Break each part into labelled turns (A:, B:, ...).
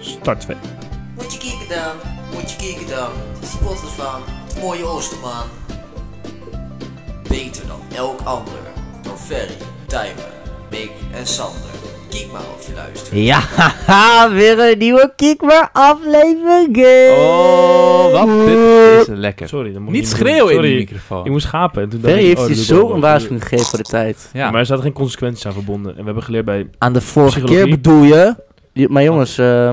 A: Start 2.
B: Moet je kijken dan, moet je kijken dan. De spotters van het mooie Oosterman. Beter dan elk ander. Door Ferry, Tijmen, Beek en Sander. Kijk maar of je luistert.
C: Ja, haha, weer een nieuwe Kiekmer aflevering.
D: Oh, wat?
B: Eh,
D: Dit is lekker.
A: Sorry, dan moet
D: Niet
A: je
D: schreeuwen in
A: Sorry,
D: die microfoon.
A: Ik moest schapen. En toen dacht
C: Ferry
A: ik,
C: heeft
A: oh,
C: je
A: dat doe ik
C: zo
A: ook
C: een
A: wel.
C: waarschuwing gegeven voor de tijd.
D: Ja.
A: Maar er zaten geen consequenties aan verbonden. En we hebben geleerd bij...
C: Aan de vorige keer
A: Psychologie.
C: bedoel je. Je- Maar jongens, eh,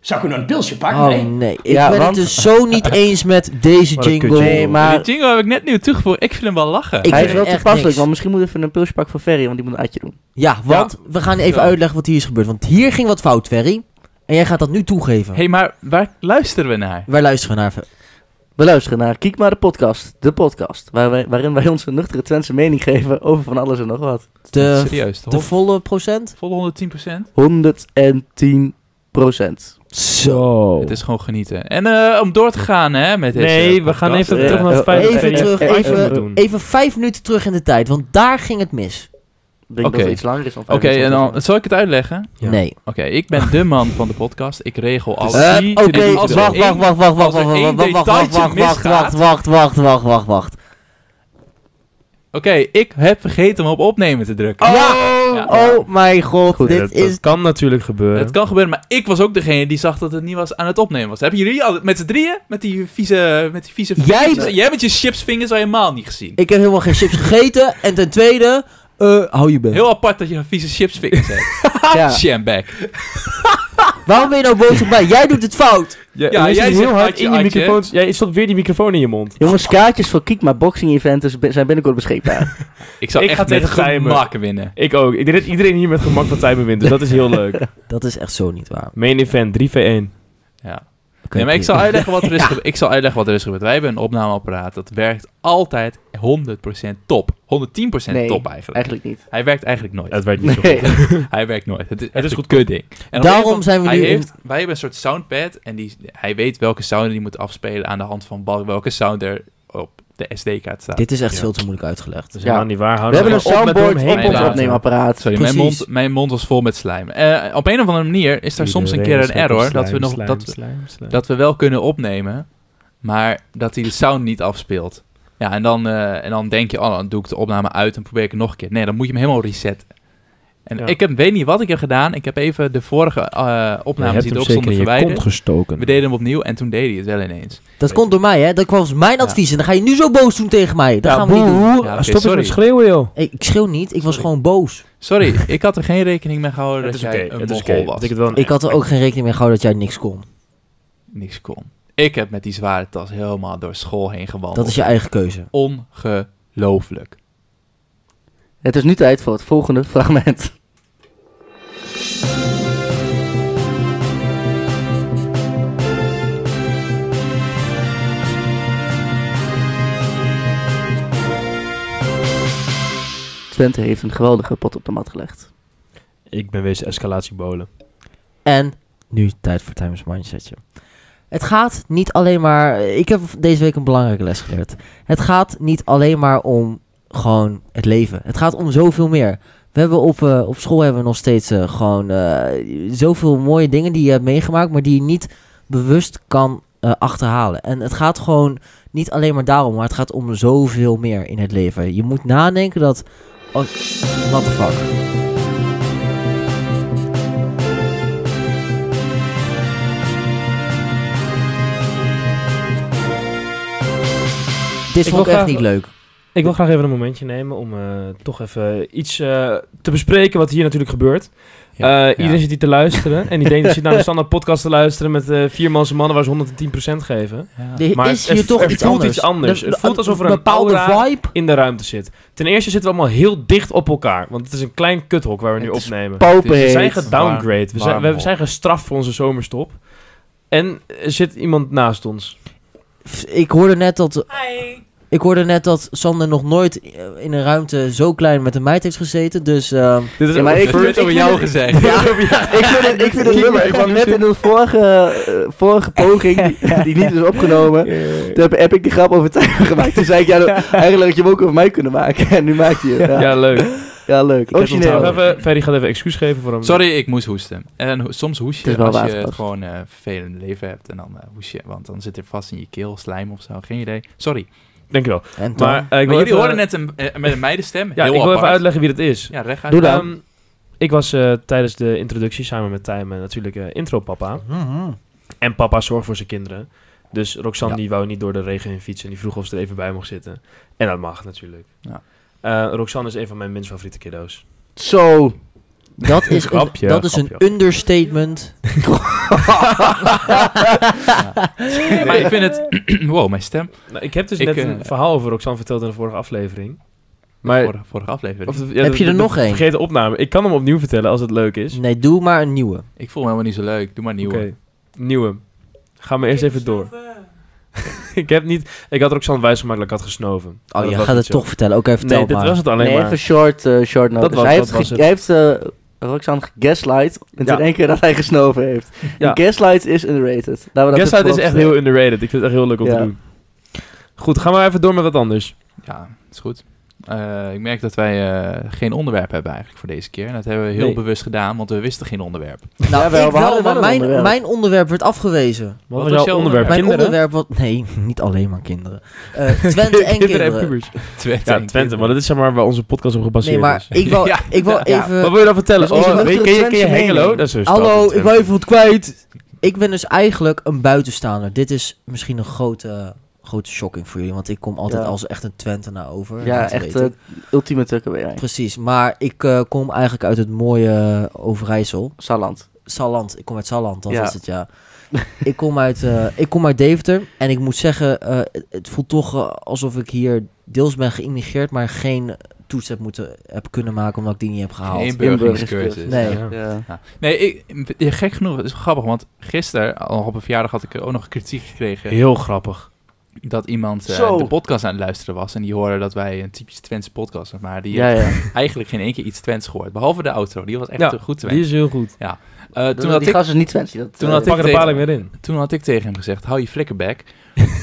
E: Zou ik u nou een pilsje pakken?
C: oh
E: Nee.
C: nee. Ik
A: Ja,
C: ben
A: want-
C: het dus zo niet eens met deze
A: Wat een
C: jingle.
A: kutje.
C: Nee, maar
D: Die jingle heb ik net nieuw toegevoegd. Ik vind hem wel lachen.
C: hij
B: vind
C: is wel
B: echt
C: toepasselijk.
B: niks.
C: Want misschien moet even een pilsje pakken voor Ferry, want die moet een uitje doen.
B: Ja,
D: want
B: we gaan
D: even Ja.
B: uitleggen wat hier is gebeurd. Want hier ging wat fout, Ferry. En jij gaat dat nu toegeven.
D: hey, maar waar luisteren we naar?
B: Wij luisteren naar
C: We luisteren naar Kiek maar de podcast. De podcast. Waar wij, waarin wij onze nuchtere Twentse mening geven over van alles en nog wat.
B: de,
D: Serieus, de,
B: de
D: hol-
B: volle procent.
D: volle 110%.
C: Oh. 110 procent.
A: Zo.
D: Het is gewoon genieten. En eh, om door te gaan hè, met deze
A: Nee, we
D: podcast.
A: gaan even
C: Ja.
A: terug naar het
C: Eh,
A: feit dat
B: even
A: Ferry
B: terug,
A: echt
B: even-
A: moet doen.
B: Even vijf minuten terug in de tijd, want daar ging het mis.
C: Ik denk
D: Oké.
C: dat het iets langer is dan
D: Oké, en dan, zal ik het uitleggen?
A: Ja.
B: Nee.
D: Oké, ik ben de man van de podcast. Ik regel alles.
A: Eh,
C: Eh,
A: Zie,
C: Oké,
A: dit is
C: wacht,
A: er
C: wacht,
D: één-
C: wacht, wacht, wacht, wacht,
D: als er één
C: wacht, wacht, wacht, wacht,
D: detailtje
C: wacht, wacht, wacht,
D: misgaat.
C: wacht, wacht, wacht, wacht, wacht.
D: Oké, ik heb vergeten om op opnemen te drukken.
C: Ja, oh mijn god,
A: Goed,
C: dit
A: dat, dat
C: is...
A: kan natuurlijk gebeuren.
D: Het kan gebeuren, maar ik was ook degene die zag dat het niet was aan het opnemen was. Hebben jullie al met z'n drieën? Met die vieze... Met die vieze
B: Jij-
D: vingertjes- jij met je chipsvingers al helemaal niet gezien.
B: Ik heb helemaal geen chips gegeten. En ten tweede, eh, hou je bek.
D: Heel apart dat je een vieze chipsvingers hebt.
C: Ja.
D: Shambag.
B: Waarom ben je nou boos op mij? Jij doet het fout.
A: Ja,
D: Ja,
A: jij
D: jij
A: zit
D: zegt
A: heel hard
D: Adje,
A: in die
D: Adje.
A: microfoon. Jij stopt weer die microfoon in je mond.
C: Jongens, kaartjes voor Kiekma Boxing Event is- zijn binnenkort beschikbaar.
D: Ik zou
A: Ik ga
D: echt met
A: tegen Timer.
D: gemak winnen.
A: Ik ook. Ik denk dat iedereen hier met gemak van Tijmen wint. Dus dat is heel leuk.
B: Dat is echt zo niet waar.
A: Main event, 3v1.
D: Ja.
B: Oké,
D: Nee, maar ik
B: oké.
D: zal, uitleggen wat er is gebe- ik zal uitleggen wat er is gebeurd. Wij hebben een opnameapparaat. Dat werkt altijd 100% top. 110%
C: Nee,
D: top eigenlijk.
C: Eigenlijk niet.
D: Hij werkt eigenlijk nooit.
A: Het werd niet zo
C: Nee.
A: goed.
D: Hij werkt nooit. Het is, het
A: is
D: is
A: goed.
D: goed kut ding. En op
B: Daarom
D: een of andere-
B: zijn we
D: hij
B: nu in-
D: Heeft, wij hebben een soort soundpad en die, hij weet welke sound die moet afspelen aan de hand van wel- welke sound er op de SD-kaart staat.
B: Dit is echt
A: Ja. Dus-
B: veel te moeilijk uitgelegd.
A: Dat is
C: Ja.
A: helemaal niet waar. Hou
C: We hebben een
A: nou op met
C: soundboard
A: door hem heen
C: op ons
D: praten.
C: opneemapparaat.
D: Sorry, mijn
B: Precies.
D: mond, mijn mond was vol met slijm. Eh, op een of andere manier is daar soms een keer een error dat, we nog, dat, we- dat we wel kunnen opnemen, maar dat hij de sound niet afspeelt. Ja, en dan, eh, en dan denk je, oh, dan doe ik de opname uit en probeer ik het nog een keer. Nee, dan moet je hem helemaal resetten. En
A: Ja.
D: ik heb, weet niet wat ik heb gedaan. Ik heb even de vorige eh opnames die erop stonden verwijderd.
A: gestoken.
D: We deden hem opnieuw en toen deed hij het wel ineens.
B: Dat komt door mij, hè? Dat was mijn
D: Ja.
B: advies. En dan ga je nu zo boos doen tegen mij. Dat gaan we niet doen.
D: Ja, oké,
A: Stop eens
D: sorry.
A: met schreeuwen,
D: Oh,
A: joh.
B: Hey, ik schreeuw niet. Ik was
D: Sorry.
B: gewoon boos.
D: Sorry, ik had er geen rekening mee gehouden dat jij een
A: Het is
D: mogol
A: oké.
D: was.
A: Dat ik het wel-
B: Ik had er ook geen rekening mee gehouden dat jij niks kon.
D: Niks kon. Ik heb met die zware tas helemaal door school heen gewandeld.
B: Dat is je eigen keuze.
D: Ongelooflijk.
C: Het is nu tijd voor het volgende fragment. Twente heeft een geweldige pot op de mat gelegd.
A: Ik ben wezen escalatiebolen.
B: En nu tijd voor Timers Mindsetje. Het gaat niet alleen maar. Ik heb deze week een belangrijke les geleerd. Het gaat niet alleen maar om gewoon het leven. Het gaat om zoveel meer. We hebben op, eh, op school hebben we nog steeds eh, gewoon eh, zoveel mooie dingen die je hebt meegemaakt, maar die je niet bewust kan eh, achterhalen. En het gaat gewoon niet alleen maar daarom, maar het gaat om zoveel meer in het leven. Je moet nadenken dat. Oh, what the fuck. Dit
A: Ik
B: vond ik
A: wil
B: echt
A: graag-
B: niet leuk.
A: Ik wil graag even een momentje nemen om eh, toch even iets eh, te bespreken wat hier natuurlijk gebeurt. Eh, Iedereen zit hier te luisteren en die denkt dat je naar een standaard podcast te luisteren met eh viermanse mannen waar ze 110% geven.
B: Er
A: Maar
B: is
A: het-
B: hier
A: het-
B: toch
A: het
B: iets
A: voelt
B: anders.
A: iets anders.
B: De-
A: Het
B: de-
A: voelt alsof er een
B: bepaalde
A: aura
B: vibe.
A: In de ruimte zit. Ten eerste zitten we allemaal heel dicht op elkaar, want het is een klein kuthok waar we nu
D: Het is
A: opnemen. We
C: Pauwpeet.
A: Dus zijn gedowngrade. We zijn, we
D: warmhol.
A: zijn gestraft voor onze zomerstop. En er zit iemand naast ons.
B: F- Ik hoorde net dat. Ik hoorde net dat Sander nog nooit eh, in een ruimte zo klein met een meid heeft gezeten. Dus ehm,
A: Dit is
C: Ja, maar
A: ook-
C: ik
D: Het
C: vind-
D: werd over jou gezegd.
C: Ja, ik vind het, ik vind het nummer. Ik kwam net in de vorige, eh, vorige poging, die, die niet is opgenomen. Toen heb, heb ik die grap over Tijmen gemaakt. Toen zei ik, ja, dan- eigenlijk had je hem ook over mij kunnen maken. En nu maakt hij het. Ja.
A: Ja, leuk.
C: Ja, leuk.
B: heb
C: Origineel.
B: onthouden.
A: Even, Ferry gaat even excuus geven voor hem.
D: Sorry, ik moest hoesten. En ho- soms hoes
C: Het is
D: je
C: wel
D: als je
C: waterpas.
D: het gewoon eh vervelend leven hebt. En dan eh, hoes je, want dan zit er vast in je keel slijm of zo. Geen idee. Sorry.
A: Dankjewel.
B: En dan,
A: Maar, eh, ik
D: maar
A: wil
D: jullie
A: even,
D: hoorden net een, eh, met een meidenstem.
A: Ja,
D: Heel
A: ik wil even
D: apart.
A: uitleggen wie dat is.
D: Ja, recht uit.
C: Doe dat.
A: Ehm, ik was eh, tijdens de introductie samen met Tijmen natuurlijk eh, intro-papa.
B: Mhm.
A: En papa zorgt voor zijn kinderen. Dus Roxanne
D: Ja.
A: die wou niet door de regen heen fietsen. En die vroeg of ze er even bij mocht zitten. En dat mag natuurlijk.
D: Ja.
A: Eh, Roxanne is een van mijn minst favoriete kiddo's.
C: Zo.
B: dat is, een-
A: Grapje,
B: dat is een
A: grapje.
B: understatement.
D: Nee, maar ik vind het... wow, mijn stem.
A: Nou, ik heb dus
D: Ik,
A: net
D: eh,
A: een verhaal over Roxanne verteld in de vorige aflevering. Maar,
D: vorige, vorige aflevering.
A: of de- ja,
B: Heb
A: de-
B: je er
A: de
B: nog één?
A: Vergeet de opname. Ik kan hem opnieuw vertellen als het leuk is.
B: Nee, doe maar een nieuwe. Oh,
D: Ik voel me helemaal niet zo leuk. Doe maar nieuw.
A: Oké, nieuwe. Ga maar eerst even door. ik heb niet... Ik had Roxanne wijsgemaakt dat ik had gesnoven. Maar
B: Oh,
A: dat
B: je
A: was
B: gaat
A: niet
B: het
A: zo.
B: toch vertellen. Oké, vertel
A: Nee, dit
B: maar.
A: was het alleen
C: nee,
A: maar.
C: even short, eh, short notice.
A: was-
C: hij
A: dat
C: heeft,
A: was
C: ge-
A: het.
C: hij heeft eh, Roxanne gegaslight. En
A: Ja.
C: toen één keer dat hij gesnoven heeft.
A: Ja.
C: En gaslight is underrated. Laten we dat
A: Gaslight
C: even
A: is echt
C: voorop
A: heel underrated. Ik vind het echt heel leuk om te
C: Ja.
A: doen. Goed, gaan we even door met wat anders.
D: Ja, is goed. Eh, ik merk dat wij eh, geen onderwerp hebben eigenlijk voor deze keer. En dat hebben we heel
A: Nee.
D: bewust gedaan, want we wisten geen onderwerp.
B: Nou,
C: Jawel,
B: ik
C: we
B: wel,
C: hadden wel
B: maar
C: een
B: mijn,
C: onderwerp.
B: mijn onderwerp werd afgewezen.
A: Wat,
D: was
A: was
D: jouw
A: jouw onderwerp?
D: onderwerp?
B: Mijn
A: Kinderen?
B: onderwerp was... Nee, niet alleen maar kinderen. Eh Twente en
A: Kinderen en
B: kinderen.
A: pubers.
D: Twente.
A: Ja, Twente. Maar dat is zeg maar waar onze podcast op gebaseerd dus.
B: Nee, maar
A: is.
B: ik wou,
D: Ja,
B: ik wou
D: ja.
B: even... Dus
A: Wat wil je dan vertellen?
C: dat is onze
A: Oh, weet- ken, je,
C: nuchtere
A: ken je
C: Twentse
A: Hengelo?
C: mening.
A: Dus Dat is een stad in
B: Hallo, ik
A: Twente.
B: wil even wat kwijt. Ik ben dus eigenlijk een buitenstaander. Dit is misschien een grote, grote shocking voor jullie, want ik kom altijd
C: Ja.
B: als echt een Twentenaar over.
C: Ja,
B: Dat
C: echt
B: weet
C: eh,
B: ik.
C: ultieme tukkenwerij.
B: Precies, maar ik eh, kom eigenlijk uit het mooie Overijssel.
C: Salland.
B: Salland, ik kom uit Salland, dat
C: Ja.
B: is het, ja. ik, kom uit, eh, ik kom uit Deventer en ik moet zeggen, eh, het- het voelt toch eh, alsof ik hier deels ben geïmigreerd, maar geen toets heb, moeten, heb kunnen maken omdat ik die niet heb gehaald.
D: Geen burgeringscursus.
B: Nee.
A: Ja.
C: Ja.
D: Ja. Nee, ik, ja, gek genoeg, het is grappig, want gisteren, al op een verjaardag, had ik ook nog kritiek gekregen
A: Heel grappig.
D: dat iemand eh,
C: Zo.
D: de podcast aan het luisteren was en die hoorde dat wij een typisch Twents podcast zijn, maar die
C: Ja,
D: heeft
C: ja.
D: eigenlijk geen één keer iets Twents gehoord, behalve de outro, die was echt
A: Ja,
D: eh, goed Twents.
A: Die is heel goed.
D: Eh, toen,
C: Die
D: had ik,
C: gast is niet Twents. die Dat,
D: toen
C: eh,
D: had ik-
A: Pak er de
D: tegen-
A: paling weer in.
D: toen had ik tegen hem gezegd, hou je flikkerbek.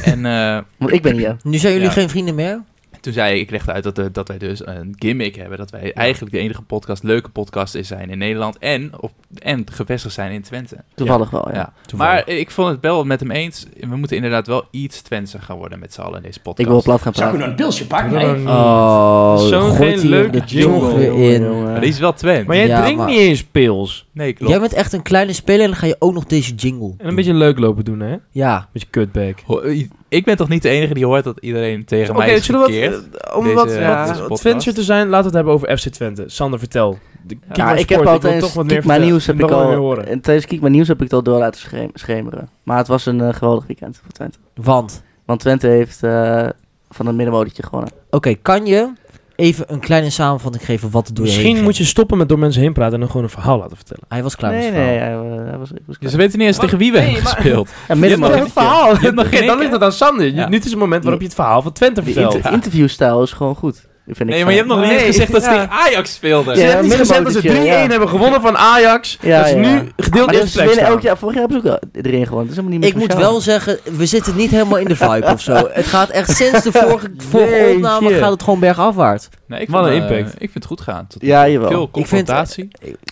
D: en eh,
C: Want ik ben hier.
B: Nu zijn jullie
D: Ja.
B: geen vrienden meer?
D: toen zei ik, ik legde uit dat, eh, dat wij dus een gimmick hebben, dat wij eigenlijk de enige podcast, leuke podcast is zijn in Nederland en, op, en gevestigd zijn in Twente.
C: Toevallig wel, ja.
D: Ja. Maar ik vond het wel met hem eens. We moeten inderdaad wel iets Twentser gaan worden met z'n allen in deze podcast.
C: Ik wil plat gaan
E: Zou ik
C: praten.
E: nou een pilsje pakken? Nee.
A: Hmm.
B: Oh,
A: Zo'n
B: gooit
A: geen
B: hij
A: leuke
B: de
A: jingle.
B: jongen
A: jongen,
B: in.
A: jongen.
D: Maar die is wel Twent.
A: Maar jij
B: Ja,
A: drinkt
B: maar-
A: niet eens pils.
D: Nee, klopt.
B: Jij bent echt een kleine speler en dan ga je ook nog deze jingle.
A: En een beetje leuk lopen doen, hè?
B: Ja.
A: Beetje kutbek.
D: Ho- eh, i- Ik ben toch niet de enige die hoort dat iedereen tegen mij is
A: zullen we
D: gekeerd?
A: wat, eh, om
D: Deze-
A: wat,
C: ja,
A: wat-
D: deze
A: wat
D: podcast.
A: Twentser te zijn, laten we het hebben over FC Twente. Sander, vertel. De
C: Ja,
A: Kiemer
C: ik heb
A: Sport,
C: altijd
A: wil
C: eens
A: toch wat
C: Kiek
A: meer
C: maar
A: vertellen.
C: nieuws heb
A: wil
C: ik
A: wel meer
C: al. eh,
A: horen.
C: En tijdens Kiek maar nieuws heb ik het al door laten schem- schemeren. Maar het was een eh, geweldig weekend voor Twente.
B: Want,
C: Want Twente heeft eh, van een middenmodertje gewonnen.
B: oké, kan je even een kleine samenvatting geven wat er door je heen
A: Misschien
B: ging?
A: moet je stoppen met door mensen heen praten en dan gewoon een verhaal laten vertellen.
B: Hij was klaar
C: nee,
B: met het
C: nee,
B: verhaal.
C: hij, wa- hij was, ik was
D: Dus we weten niet eens
A: Wat?
D: tegen wie we
A: Nee,
D: hebben
A: maar-
D: gespeeld.
C: En
A: het verhaal.
D: hebt nog geen
A: dan
D: één
A: ligt het aan Sander.
D: Ja.
A: Dit is het moment waarop je het verhaal van Twente
C: De
A: vertelt.
C: inter- interviewstijl is gewoon goed. Vind ik
D: Nee, maar je hebt nog niet
A: Nee,
D: eens gezegd dat ze
A: ja.
D: tegen Ajax speelden.
A: Ze
C: Ja,
A: hebben niet gezegd dat ze 3-1
C: middenmotortje, ja.
A: hebben gewonnen van Ajax.
C: Ja,
A: dat ze
C: ja.
A: nu gedeeld
C: Maar
A: in
C: dat
A: de
C: is- ze
A: plek
C: winnen elk
A: staan.
C: jaar, vorig jaar hebben ze ook wel erin gewonnen. Dus helemaal niet meer
B: Ik moet
C: speciaal.
B: wel zeggen, we zitten niet helemaal in de vibe of zo. Het gaat echt sinds de vorige, vorige
A: Jeetje.
B: opname gaat het gewoon bergafwaarts.
D: Nee, ik
A: Wat
D: vond,
A: een
D: eh,
A: impact.
D: ik vind het goed gaan. Tot-
C: Ja, jawel.
D: Veel
B: Ik vind-
D: confrontatie.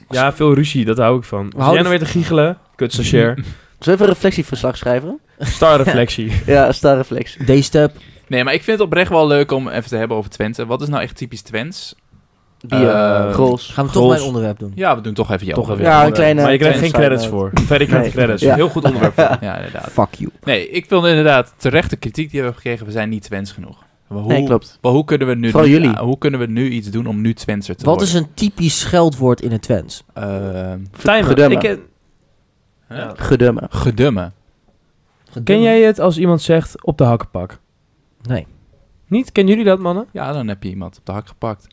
A: Ja, veel ruzie, dat hou ik van. Als jij
B: houden
A: nou weer te giechelen, kut stagiair.
C: Zullen we even een reflectieverslag schrijven?
A: Star reflectie.
C: Ja, star reflectie.
B: D-step,
D: Nee, maar ik vind het oprecht wel leuk om even te hebben over Twente. Wat is nou echt typisch Twents?
C: Die eh
D: Eh,
C: goals.
B: gaan we toch
A: Goals.
B: mijn onderwerp doen.
D: Ja, we doen toch even jou.
A: Toch even.
C: Ja, een kleine...
A: Maar je krijgt geen
C: kleine
A: credits
C: side
A: voor. Verder krijgt
C: Nee.
A: credits.
C: Ja.
A: Heel goed onderwerp.
D: Ja, inderdaad.
B: Fuck you.
D: Nee, ik vond inderdaad terecht de kritiek die we hebben gekregen. We zijn niet Twents genoeg. Maar hoe,
C: note. Nee, klopt.
D: maar hoe kunnen we nu,
C: Vooral
D: niet-
C: jullie.
D: ah, hoe kunnen we nu iets doen om nu Twentser te
B: Wat is
D: worden?
B: een typisch scheldwoord in het Twents?
D: Ehm,
A: Tijmen,
C: Gedummen.
A: ik eh, ken...
D: hè?
A: Ja.
C: Gedummen.
D: Gedumme.
A: Ken jij het als iemand zegt op de hakkenpak?
B: Nee.
A: Niet? Kennen jullie dat, mannen?
D: Ja, dan heb je iemand op de hak gepakt.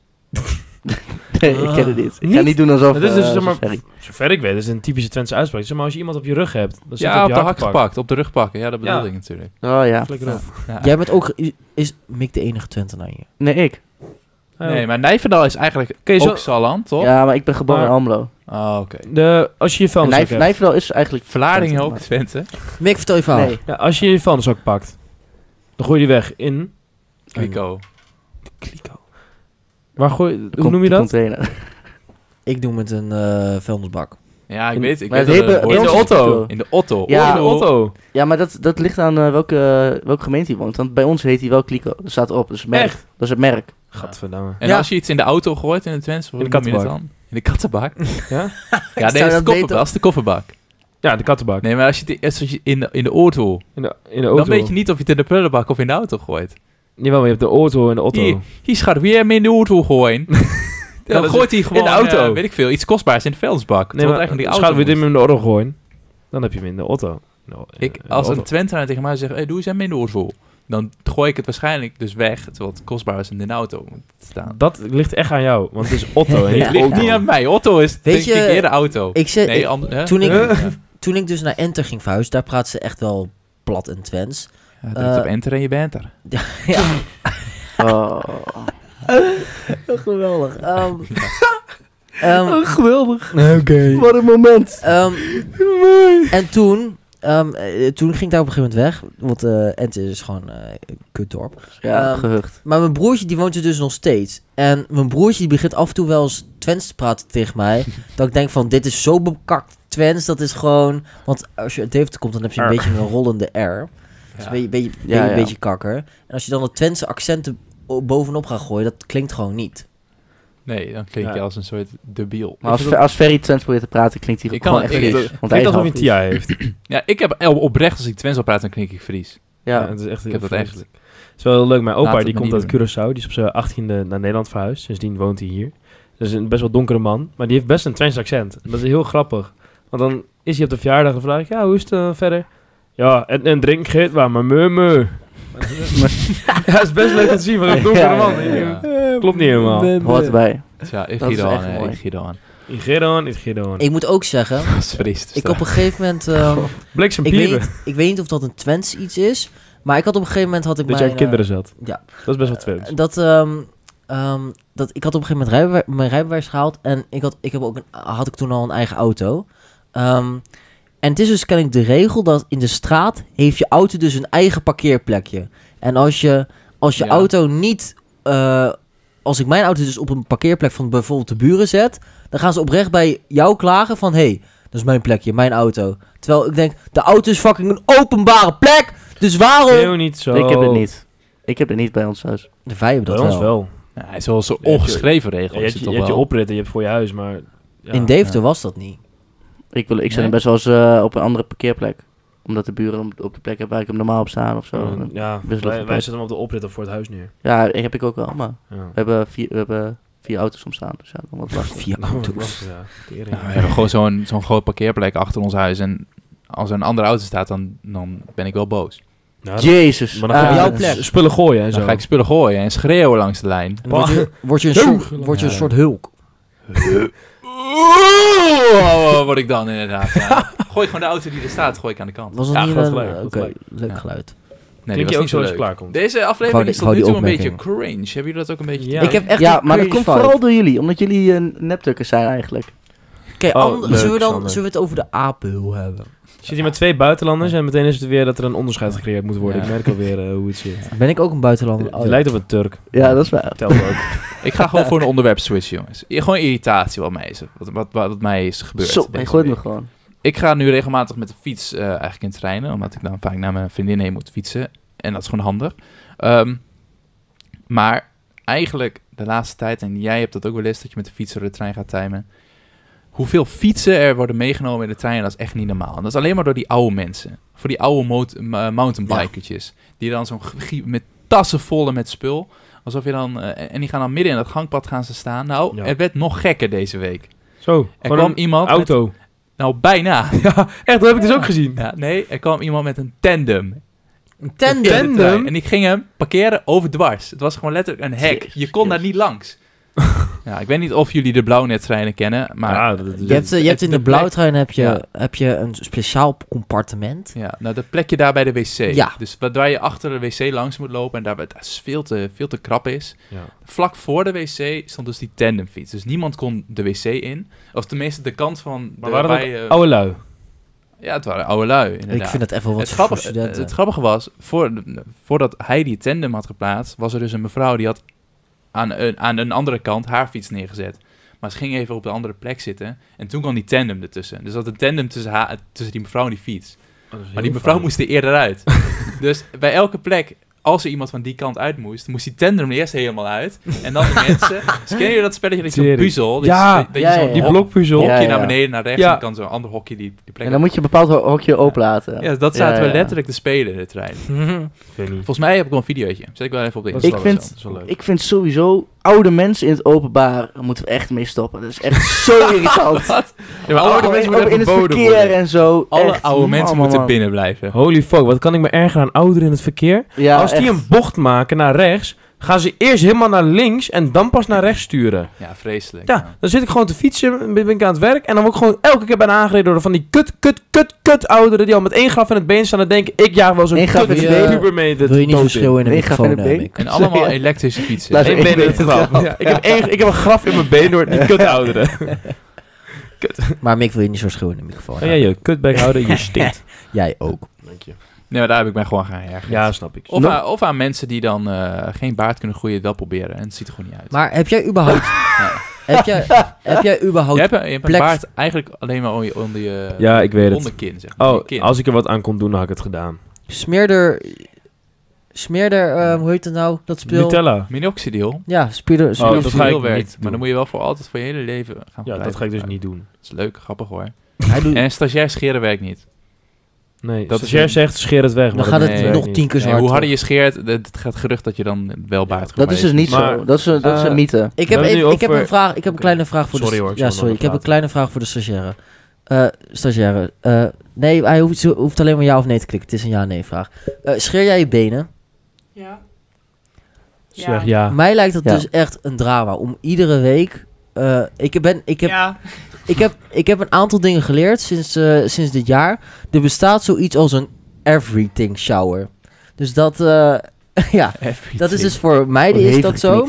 C: Nee, ik ken het niet. Ik ga
A: Niet?
C: niet doen alsof...
A: Dat is dus
C: eh,
A: zeg maar-
C: sorry.
A: Zover ik weet, dat is een typische Twentse uitspraak. Zeg maar als je iemand op je rug hebt, dan zit
D: ja, op de
A: je
D: hak
A: hakkenpak.
D: gepakt. Op de rug pakken. Ja, dat bedoelde
A: Ja.
D: ik natuurlijk.
C: Oh ja.
A: Flikker op.
D: Ja.
B: Jij bent ook... Is Mick de enige Twentenaar hier?
C: Nee, ik.
D: Nee,
A: Oh.
D: maar Nijverdal is eigenlijk
A: Oké, zo-
D: ook Salland, toch?
C: Ja, maar ik ben geboren in
A: Maar-
C: Almelo.
D: Oh, oké.
A: De, als je je
C: En
A: vuilniszak
C: Nijf-
A: hebt.
C: Nijverdal is eigenlijk...
D: Vlaardingen ook,
C: maar-
D: Twente.
B: Mick, vertel je verhaal.
C: Nee.
A: Ja, als je je vuilniszak pakt, dan gooi je die weg in...
D: Kliko.
A: Kliko. Waar gooi, hoe noem je
C: de
A: dat?
C: Container.
B: Ik doe met een eh vuilnisbak.
D: Ja, ik weet het. Ik
C: Maar
D: weet
C: het
D: dat
C: heet
D: het een
C: bij-
A: in de
D: woord is.
A: auto.
D: In de auto.
C: Ja.
A: In de auto.
C: Ja, maar dat, dat ligt aan eh, welke, welke gemeente hij woont. Want bij ons heet hij wel Kliko. Dat staat erop. Dat is, het merk.
A: Echt?
C: Dat is het merk.
A: Gadverdamme.
D: En
B: Ja.
D: als je iets in de auto gooit in de Twents, hoe
A: In de
D: noem je dat
A: kattenbak.
D: dan? In de kattenbak?
A: Ja?
D: Ja, nee,
B: zou
D: dat is de
B: dat
D: kofferbak.
B: beter-
D: Dat is de kofferbak.
A: Ja, de kattenbak.
D: Nee, maar als je, het- als je in, de, in de auto,
A: In, de, in de auto.
D: dan weet je niet of je het in de prullenbak of in de auto gooit.
A: Jawel, maar je hebt de auto en de auto.
D: Hier, hier schat, weer hem in de auto gooien. dan
A: dat is-
D: gooit hij gewoon,
A: in de auto.
D: eh, weet ik veel, iets kostbaars in de vuilnisbak.
A: nee,
D: Nee,
A: maar
D: eigenlijk in de
A: schaduw
D: auto
A: we dit
D: moet.
A: hem in de auto gooien, dan heb je hem in de auto. In de- in
D: ik,
A: de
D: Als
A: auto.
D: een Twentenaar tegen mij zegt, hey, doe eens hem in de auto. Dan gooi ik het waarschijnlijk dus weg, terwijl het kostbaar is in de auto moet staan.
A: Dat ligt echt aan jou, want het is Otto. en
B: Ja.
A: niet
D: Het ligt
A: Otto.
D: niet aan mij. Otto is
B: Weet
D: denk
B: je,
D: ik eerder auto.
B: Ik zit,
D: nee,
B: ik-
D: an- hè?
B: toen ik-
D: Ja.
B: toen ik dus naar Enter ging verhuizen, daar praat ze echt wel plat en Twents.
D: Ja, drukt op
B: Eh,
D: enter en je bent er.
B: ja,
C: Oh.
B: geweldig. Ehm,
C: Oh,
A: Oh,
B: ehm,
C: Geweldig.
B: Oké.
C: Wat een moment.
B: Ehm, En toen, ehm, eh, toen ging ik daar op een gegeven moment weg. Want eh Ente is gewoon eh, een kutdorp.
C: Ja,
B: Ehm,
C: gehucht.
B: Maar mijn broertje die woont er dus nog steeds. En mijn broertje die begint af en toe wel eens Twents te praten tegen mij. dat ik denk van, dit is zo bekakt Twents. Dat is gewoon... Want als je uit Deventer komt, dan heb je een
A: R.
B: beetje een rollende R. Dus
D: Ja.
B: een beetje, beetje,
C: Ja,
B: beetje-
C: ja.
B: beetje kakker. En als je dan de Twentse accenten o- bovenop gaat gooien, dat klinkt gewoon niet.
D: Nee, dan klink je
A: Ja.
D: als een soort debiel.
C: Maar als, als Ferry Twents probeert te praten, klinkt hij
D: Ik
C: gewoon
D: kan-
C: echt
D: ik-
C: Fries.
D: ik-
C: Want hij
A: Klinkt
C: is
A: alsof
C: half
A: je een TIA heeft.
D: Ja, ik heb eh, oprecht, als ik Twents al praat, dan klink ik Fries.
A: Ja,
C: Ja.
A: het is echt
D: Ik heb dat echt.
A: Het is wel heel leuk. Mijn
D: Laat
A: opa
D: het
A: die
D: maar
A: komt uit
D: niet
A: Curaçao. Die is op zijn 18e naar Nederland verhuisd. Sindsdien woont hij hier. Dat is een best wel donkere man. Maar die heeft best een Twents accent. Dat is heel grappig. Want dan is hij op de verjaardag en vraag ik... Ja, hoe is het eh, verder? Ja, en, en drink geet maar, maar meu meu. ja, het is best leuk om te zien van een donkere
C: Ja,
A: man.
D: ja, ja.
A: Eh, Klopt niet helemaal.
C: Hoort erbij.
D: Ja, ik
C: Dat is
D: giet
C: echt
D: aan, hè,
C: mooi.
D: ik giet aan.
A: In Geron, in Geron.
B: Ik moet ook zeggen,
D: Dat is Fries. dus
B: ik
D: daar-
B: op een gegeven moment... ehm,
A: Bliksem
B: ik, weet
A: piepen.
B: niet, ik weet niet of dat een Twents iets is. Maar ik had op een gegeven moment... Had ik
A: Dat jij
B: mijn,
A: op kinderen zat.
B: eh, ja.
A: Dat is best wel Twents.
B: eh, dat, ehm, ehm, dat ik had op een gegeven moment rijbewa- mijn rijbewijs gehaald. En ik had, ik heb ook een, had ik toen al een eigen auto. Ehm, en het is dus kennelijk de regel dat in de straat heeft je auto dus een eigen parkeerplekje. En als je, als je
D: Ja.
B: auto niet... eh, als ik mijn auto dus op een parkeerplek van bijvoorbeeld de buren zet... Dan gaan ze oprecht bij jou klagen van... Hé, hey, dat is mijn plekje, mijn auto. Terwijl ik denk, de auto is fucking een openbare plek. Dus waarom...
A: Heel niet zo.
C: Ik heb het niet. Ik heb het niet bij ons thuis.
B: De wij hebben
A: Bij
B: dat
A: ons
B: wel.
A: wel.
D: Ja, Nou, hij is wel zo'n
A: je-
D: ongeschreven regel.
A: Ja, je
D: is
A: hebt
D: het
A: je,
D: toch
A: je, hebt je
D: wel.
A: opritten, je hebt voor je huis, maar... ja.
B: In Deventer was dat niet.
C: Ik, wil, ik zet
D: Nee?
C: hem best wel eens eh, op een andere parkeerplek. Omdat de buren hem op de plek hebben waar ik hem normaal op staan of zo.
A: Ja, Ja, wij,
C: Wisselen
A: wij
C: van plek.
A: zetten hem op de oprit of voor het huis neer.
C: Ja, ik heb ik ook wel, maar
A: Ja.
C: we hebben vier, we hebben vier auto's om staan. Dus ja, dan wat lastig.
B: Via auto's.
A: Lastig, ja. Tering.
D: Ja, we hebben gewoon zo'n zo'n groot parkeerplek achter ons huis. En als er een andere auto staat, dan, dan ben ik wel boos.
A: Ja, dat-
C: Jezus.
A: maar dan ga
C: Ah,
A: je
B: jouw
A: s-
B: plek.
A: spullen gooien en
D: Dan
A: zo.
D: ga ik spullen gooien en schreeuwen langs de lijn.
B: En dan Word je, word je een, soort, word je een
D: Ja.
B: soort hulk.
D: Oeh, word ik dan inderdaad. ja. Gooi gewoon de auto die er staat, gooi ik aan de kant.
B: Was dat
A: Ja,
B: niet
A: groot
B: een...
A: gelijk, groot
B: Oké,
A: gelijk.
B: leuk
D: Ja.
B: geluid.
D: Nee,
A: Klink
D: die was
A: je ook
D: niet
A: zo
D: zo
A: als
D: leuk.
A: je klaarkomt.
D: Deze
B: Gewoon
D: aflevering
B: die-
D: is tot nu toe
B: gewoon
D: een
B: die
D: beetje cringe. Hebben jullie dat ook een beetje?
A: Ja.
B: Ik heb echt
C: ja,
B: een
C: maar dat
B: cringe
C: komt
B: vibe.
C: vooral door jullie. Omdat jullie een neptukken zijn eigenlijk.
B: Oké,
A: Oh,
B: ander-
A: leuk,
B: zullen, we dan-
A: Sander.
B: zullen we het over de apenhul hebben?
A: Zit je met twee buitenlanders en meteen is het weer dat er een onderscheid gecreëerd moet worden.
D: Ja. Oh,
A: Ik merk alweer eh, hoe het zit.
B: Ben ik ook een buitenlander? Oh,
A: Het lijkt op een Turk.
C: Ja, dat is waar.
A: Telt ook.
D: Ik ga gewoon voor een onderwerp switchen, jongens. I- Gewoon irritatie wat mij is, wat, wat, wat mij is gebeurd.
C: Zo,
D: deze
C: hij gooit me
D: week.
C: gewoon.
D: Ik ga nu regelmatig met de fiets eh, eigenlijk in treinen, omdat ik dan vaak naar mijn vriendin heen moet fietsen. En dat is gewoon handig. Ehm, maar eigenlijk de laatste tijd, en jij hebt dat ook wel eens, dat je met de fiets door de trein gaat timen. Hoeveel fietsen er worden meegenomen in de trein, dat is echt niet normaal. En dat is alleen maar door die oude mensen. Voor die oude mot- m- eh, mountainbikertjes. Die dan zo'n gie- met tassen volle met spul. Alsof je dan, eh, en die gaan dan midden in dat gangpad gaan ze staan. Nou,
A: Ja.
D: het werd nog gekker deze week.
A: Zo,
D: Er
A: gewoon
D: kwam
A: een
D: iemand. met-
A: auto.
D: nou, bijna.
A: Ja, echt, dat heb ik dus ook gezien.
D: Ja, nee, er kwam iemand met een tandem.
B: Een tandem.
D: in de
A: Tandem?
D: trein. En die ging hem parkeren overdwars. Het was gewoon letterlijk een hek.
C: Jezus,
D: Je kon daar niet langs. ja, ik weet niet of jullie de blauwnettreinen kennen, maar... Ja.
A: ja, dat, dat-
B: Je hebt, eh, je hebt in de
D: de plek-
B: blauwtrein heb je,
D: Ja.
B: heb je een speciaal compartiment.
D: nou dat plekje daar bij de wc.
B: Ja.
D: Dus wat- waar je achter de wc langs moet lopen en daar waar het veel te, veel te krap is.
A: ja.
D: Vlak voor de wc stond dus die tandemfiets. Dus niemand kon de wc in. Of tenminste de kant van...
A: Maar
D: de-
A: waren dat
D: waar je-
A: oude lui?
D: Ja, het waren oude lui, inderdaad.
B: Ik vind dat even wel wat
D: Het
B: voor voor
D: grappige,
C: eh?
B: studenten.
D: het grappige was, voor, voordat hij die tandem had geplaatst, was er dus een mevrouw die had aan een, aan een andere kant haar fiets neergezet. Maar ze ging even op de andere plek zitten. En toen kwam die tandem ertussen. Dus dat een tandem tussen, haar, tussen die mevrouw en die fiets. Maar die mevrouw moest er eerder uit. dus bij elke plek, als er iemand van die kant uit moest, moest die tandem eerst helemaal uit. En dan de mensen. Dus ken je dat spelletje dat je zo'n
A: Tering.
D: puzzel? dat je-
A: Ja,
D: dat je
C: ja,
D: zo'n
C: ja,
A: Die
C: ja.
D: hok-
A: blokpuzzel.
D: hokje
C: Ja, ja, ja.
D: naar beneden, naar rechts.
A: Ja.
D: En dan kan zo'n ander hokje die, die plek
C: En dan moet je een bepaald ho- hokje openlaten.
D: Ja, dat zaten
C: Ja, ja.
D: we letterlijk te spelen in de trein.
A: Ik weet niet.
D: Volgens mij heb ik wel een videootje. Zet ik wel even op de
A: Dat
D: Insta.
A: is
C: Ik
A: wel-
C: vind-
A: dat is wel leuk.
C: Ik vind sowieso oude mensen in het openbaar, daar moeten we echt mee stoppen. Dat is echt zo irritant.
D: Wat? Ja, maar oude
C: Ook
D: mensen
A: Oh,
C: in- ook
D: moeten
C: in het
D: verboden
C: verkeer
D: worden.
C: en zo.
D: Alle
C: echt,
D: oude
C: man,
D: mensen
C: man,
D: moeten
C: man.
D: binnen blijven.
A: Holy fuck, wat kan ik me erger aan ouderen in het verkeer?
C: Ja,
A: Als die
C: echt.
A: een bocht maken naar rechts, gaan ze eerst helemaal naar links en dan pas naar rechts sturen.
D: Ja, vreselijk.
A: Ja, dan zit ik gewoon te fietsen, ben ben ik aan het werk en dan word ik gewoon elke keer bijna aangereden door van die kut, kut, kut, kut ouderen die al met één graf in het been staan en denken, ik jaag wel zo'n
C: Eén graf
A: kut
C: in
B: het been.
A: puber mee de
B: Wil je niet zo
A: dood in.
B: schreeuwen in de
C: Nee, ga
B: microfoon,
C: verder,
B: eh,
C: nee.
B: Mick?
D: En allemaal
C: Sorry.
D: elektrische fietsen.
C: Laat-
D: Nee,
A: Eén
C: Eén
A: been in het
C: been
A: graf. Ja, ik, heb één, ik heb een graf in mijn been door die kut ouderen.
B: Maar Mick wil je niet zo schreeuwen in de microfoon.
A: Ga jij Oh, je kutbek houden, je stinkt.
B: Jij ook.
A: Dank je.
D: nee, maar daar heb ik mij gewoon gaan ergerd.
A: Ja, snap ik.
D: Of, aan, of aan mensen die dan eh, geen baard kunnen groeien, het wel proberen. En het ziet er gewoon niet uit.
B: Maar heb jij überhaupt... heb, jij, heb jij überhaupt...
D: je hebt, een- je hebt een
B: plek-
D: baard eigenlijk alleen maar onder je, onder je
A: Ja, ik weet het.
D: onderkin, zeg maar.
A: Oh,
D: Je kin.
A: als ik er wat aan kon doen, dan had ik het gedaan.
B: Smeerder... Smeerder... eh, hoe heet het nou? Dat speel...
A: Nutella.
D: Minoxidil.
B: Ja, smeerder...
A: Oh, dat
B: smeerder
A: ga
D: Minoxidil
A: ik
D: werkt.
A: niet
D: Maar
A: doen.
D: dan moet je wel voor altijd voor je hele leven gaan
A: Ja,
D: blijven
A: dat ga ik dus
D: gebruiken.
A: niet doen.
D: Dat is leuk, grappig hoor.
B: Hij doet...
D: En stagiair scheren werkt niet.
A: Nee,
D: Dat
A: dat
D: is
A: stagiair
D: een-
A: zegt, scheer het weg.
B: Dan
A: maar
B: gaat
A: dat
B: het
A: werkt
B: nog
A: niet.
B: tien keer zo
D: Nee,
B: hard
D: hoe harder
B: terug.
D: je scheert, het- het gaat gerucht dat je dan wel baard
C: Dat is dus niet
A: Maar-
C: zo. Dat is, een- dat is
A: Eh,
C: een mythe.
B: Ik
A: We
B: heb,
A: hebben
B: even,
A: nu
B: ik heb
A: over-
B: een vraag, ik heb een
A: Oké.
B: kleine vraag voor de...
A: Sorry hoor, ik
B: Ja,
A: zal
B: sorry. Ik heb een
A: onderbreken.
B: kleine vraag voor de stagiaire. Eh, stagiaire. eh, nee, hij hoeft, hoeft alleen maar ja of nee te klikken. Het is een ja-nee vraag. Eh, scheer jij je benen?
F: Ja.
A: Zeg ja.
B: Mij lijkt het
C: Ja.
B: dus echt een drama om iedere week. eh, ik, ben, ik, heb,
F: Ja.
B: ik, heb, ik heb een aantal dingen geleerd sinds, eh, sinds dit jaar. Er bestaat zoiets als een everything shower. Dus dat, eh, ja, dat is dus voor
C: Oh,
B: meiden is dat zo.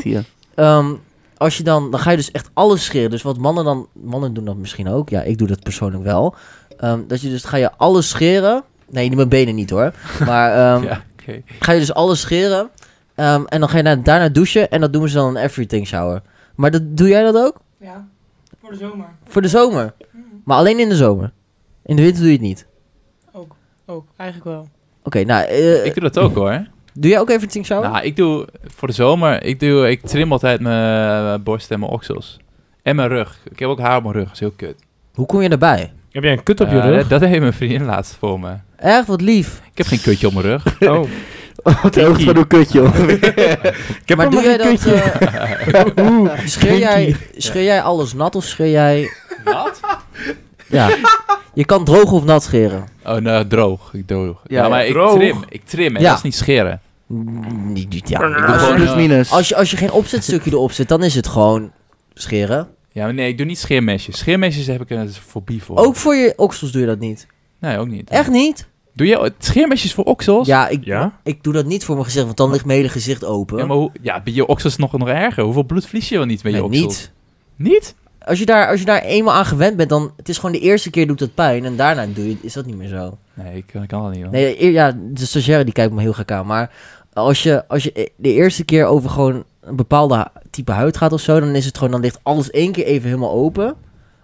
B: Ehm, als je dan, dan ga je dus echt alles scheren. Dus wat mannen dan, mannen doen dat misschien ook. Ja, ik doe dat persoonlijk wel. Ehm, dat je dus ga je alles scheren. Nee, mijn benen niet hoor. Maar ehm,
D: Ja, oké.
B: ga je dus alles scheren. ehm, en dan ga je na- daarna douchen. En dat doen ze dan een everything shower. Maar dat, doe jij dat ook?
F: Ja. Voor de zomer.
B: Voor de zomer.
F: Mhm.
B: Maar alleen in de zomer. In de winter doe je het niet.
F: Ook. Ook. Eigenlijk wel.
B: Oké, nou. eh,
D: Ik doe dat ook hoor.
B: Doe jij ook everything shower?
D: Nou, ik doe voor de zomer, ik, doe, ik trim altijd mijn eh, borst en mijn oksels. En mijn rug. Ik heb ook haar op mijn rug, dat is heel kut.
B: Hoe kom je daarbij?
A: Heb jij een kut op je
D: Eh,
A: rug?
D: dat, dat heeft mijn vriendin laatst voor me.
B: Echt wat lief.
D: Ik heb geen kutje op mijn rug.
A: Oh.
C: Wat heel goed van een kutje, joh.
A: Ik heb
B: maar
A: ook
B: doe
A: nog
B: jij
A: een
B: dat.
A: kutje.
B: eh, scheer, jij, scheer jij alles nat of scheer jij.
D: Wat?
B: Ja. je kan droog of nat scheren.
D: Oh, nou, droog. Ik droog. Ja,
C: Ja,
D: maar
C: ja,
D: ik
A: droog.
D: trim. Ik trim, en
B: Ja.
D: dat is niet scheren.
B: Mm, niet- niet- Ja, ik doe
C: Ah,
B: gewoon-
C: Plus minus.
B: als, je, als je geen opzetstukje erop zit, dan is het gewoon scheren.
D: Ja, maar nee, ik doe niet scheermesjes. Scheermesjes heb ik een fobie voor.
B: Ook voor je oksels doe je dat niet.
D: Nee, ook niet.
B: Echt niet?
D: Doe je scheermesjes voor oksels?
B: Ja, ik,
A: Ja?
B: ik doe dat niet voor mijn gezicht, want dan ligt mijn hele gezicht open.
D: Ja, maar hoe, ja, bij je oksels nog, nog erger. Hoeveel bloed vlies je wel niet met je
B: Nee,
D: oksels?
B: niet.
D: Niet?
B: Als je, daar, als je daar eenmaal aan gewend bent, dan... Het is gewoon de eerste keer doet dat pijn en daarna doe je, is dat niet meer zo.
D: Nee, ik, ik kan dat niet. hoor.
B: Nee, eer- ja, de stagiaire die kijkt me heel gek aan. Maar als je, als je e- de eerste keer over gewoon een bepaalde hu- type huid gaat of zo... dan is het gewoon, dan ligt alles één keer even helemaal open.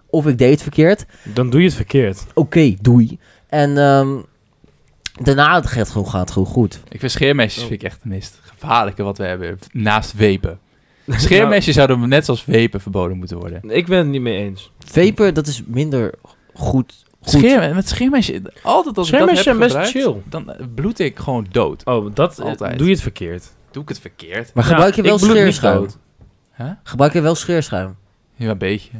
B: Of ik deed het verkeerd.
A: Dan doe je het verkeerd.
B: Oké, doei. En ehm, daarna het gaat gewoon, gaat gewoon goed.
D: Ik vind scheermesjes
A: Oh.
D: vind ik echt het meest gevaarlijke wat we hebben. Naast wepen. Scheermesjes
A: Nou.
D: zouden net zoals wepen verboden moeten worden.
A: Ik ben het niet mee eens.
B: Vapen, dat is minder goed. goed.
D: Scheer, met scheermesjes, altijd als
A: Scheermesjes
D: ik dat
A: zijn
D: heb
A: best
D: gebruikt,
A: chill.
D: dan eh, bloed ik gewoon dood.
A: Oh, dat eh,
D: Altijd.
A: doe je het verkeerd.
D: Doe ik het verkeerd?
B: Maar gebruik je
A: Ja,
B: wel
A: ik bloed niet
B: scheerschuim?
A: dood.
B: Gebruik je wel scheerschuim?
D: Ja, een beetje.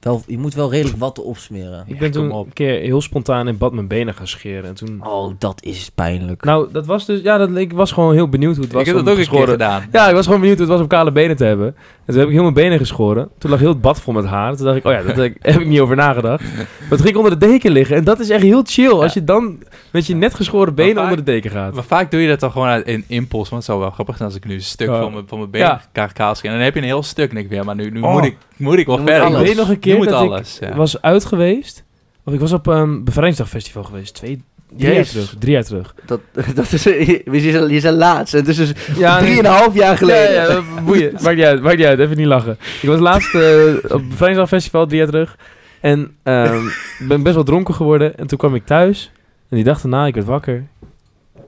B: Wel, je moet wel redelijk watten opsmeren.
A: Ik
D: Ja,
A: ben
D: kom
A: toen
D: op.
A: een keer heel spontaan in bad mijn benen gaan scheren. En toen...
B: Oh, dat is pijnlijk.
A: Nou, dat was dus... Ja, dat, ik was gewoon heel benieuwd hoe het was
D: ik heb
A: om
D: dat ook een keer
A: geschoren-
D: gedaan.
A: Ja, ik was gewoon benieuwd hoe het was om kale benen te hebben. En toen heb ik heel mijn benen geschoren. Toen lag heel het bad vol met haar. Toen dacht ik, oh ja, daar heb ik- heb ik niet over nagedacht. Maar toen ging ik onder de deken liggen. En dat is echt heel chill. Als je dan met je net geschoren benen
D: vaak-
A: onder de deken gaat.
D: Maar vaak doe je dat dan gewoon uit in impuls. Want het zou wel grappig zijn als ik nu een stuk
A: Ja.
D: van, mijn, van mijn been
A: Ja.
D: ka- kaal schiet. En dan heb je een heel stuk. En ik weer, maar nu, nu
A: Oh.
D: moet, ik, moet ik wel
C: Nu moet
D: verder.
C: alles.
A: Ik weet nog een
D: nu
A: keer
D: moet
A: dat ik
D: alles. ja.
A: was uit geweest. Of ik was op een ehm, bevrijdingsdagfestival geweest. Twee, Drie jaar
C: Jezus.
A: terug. Drie jaar terug.
C: Dat, dat is, je, je is laatst. Het is dus
A: Ja, nee.
C: drieënhalf jaar geleden.
A: Ja, ja, boeien. Maakt niet uit, maakt niet uit. Even niet lachen. Ik was laatst eh, op het Vrijdagfestival drie jaar terug. En ehm, ben best wel dronken geworden. En toen kwam ik thuis. En die dag daarna, ik werd wakker.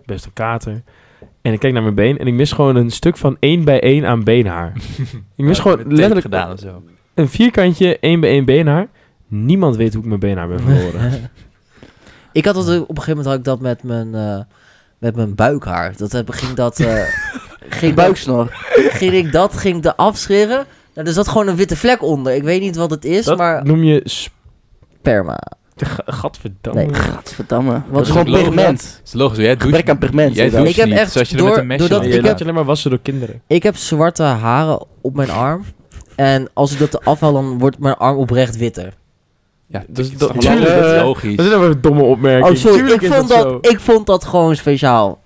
A: Best een kater. En ik kijk naar mijn been. En ik mis gewoon een stuk van één bij één aan beenhaar. ik mis gewoon letterlijk
D: gedaan en zo.
A: een vierkantje één bij één beenhaar. Niemand weet hoe ik mijn beenhaar ben verloren.
B: Ik had dat ook- op een gegeven moment had ik dat met mijn, eh, met mijn buikhaar. Dat heb, ging dat. eh, ging,
C: Buiksnor.
B: ging ik dat ging ik er afscheren. Nou, er zat gewoon een witte vlek onder. Ik weet niet wat het is,
A: Dat
B: maar
A: noem je... sp-
B: sperma.
A: Ga- Gadverdamme.
B: Nee.
C: Gadverdamme. Dat is
B: een
C: gewoon
D: logisch
C: pigment.
D: Dat is logisch. Jij doucht,
C: Gebrek aan pigment.
D: jij
C: zit
D: doucht
C: daar.
B: Ik heb
D: niet,
B: echt
D: zoals je er
B: door-
D: met een mesje
B: doordat
D: aan
A: Je
B: ik
D: doet.
A: laat
B: heb-
A: je alleen maar wassen door kinderen.
B: Ik heb zwarte haren op mijn arm. En als ik dat eraf haal, dan wordt mijn arm oprecht witter.
D: Ja,
A: Dus
D: dat,
A: dat-
D: is toch
C: tuurlijk,
D: logisch.
A: eh,
D: logisch.
A: Dat is een domme opmerking.
B: Oh, sorry.
A: Tuurlijk
B: Ik
A: is
B: vond
A: dat
B: dat, ik vond dat gewoon speciaal.
A: zo.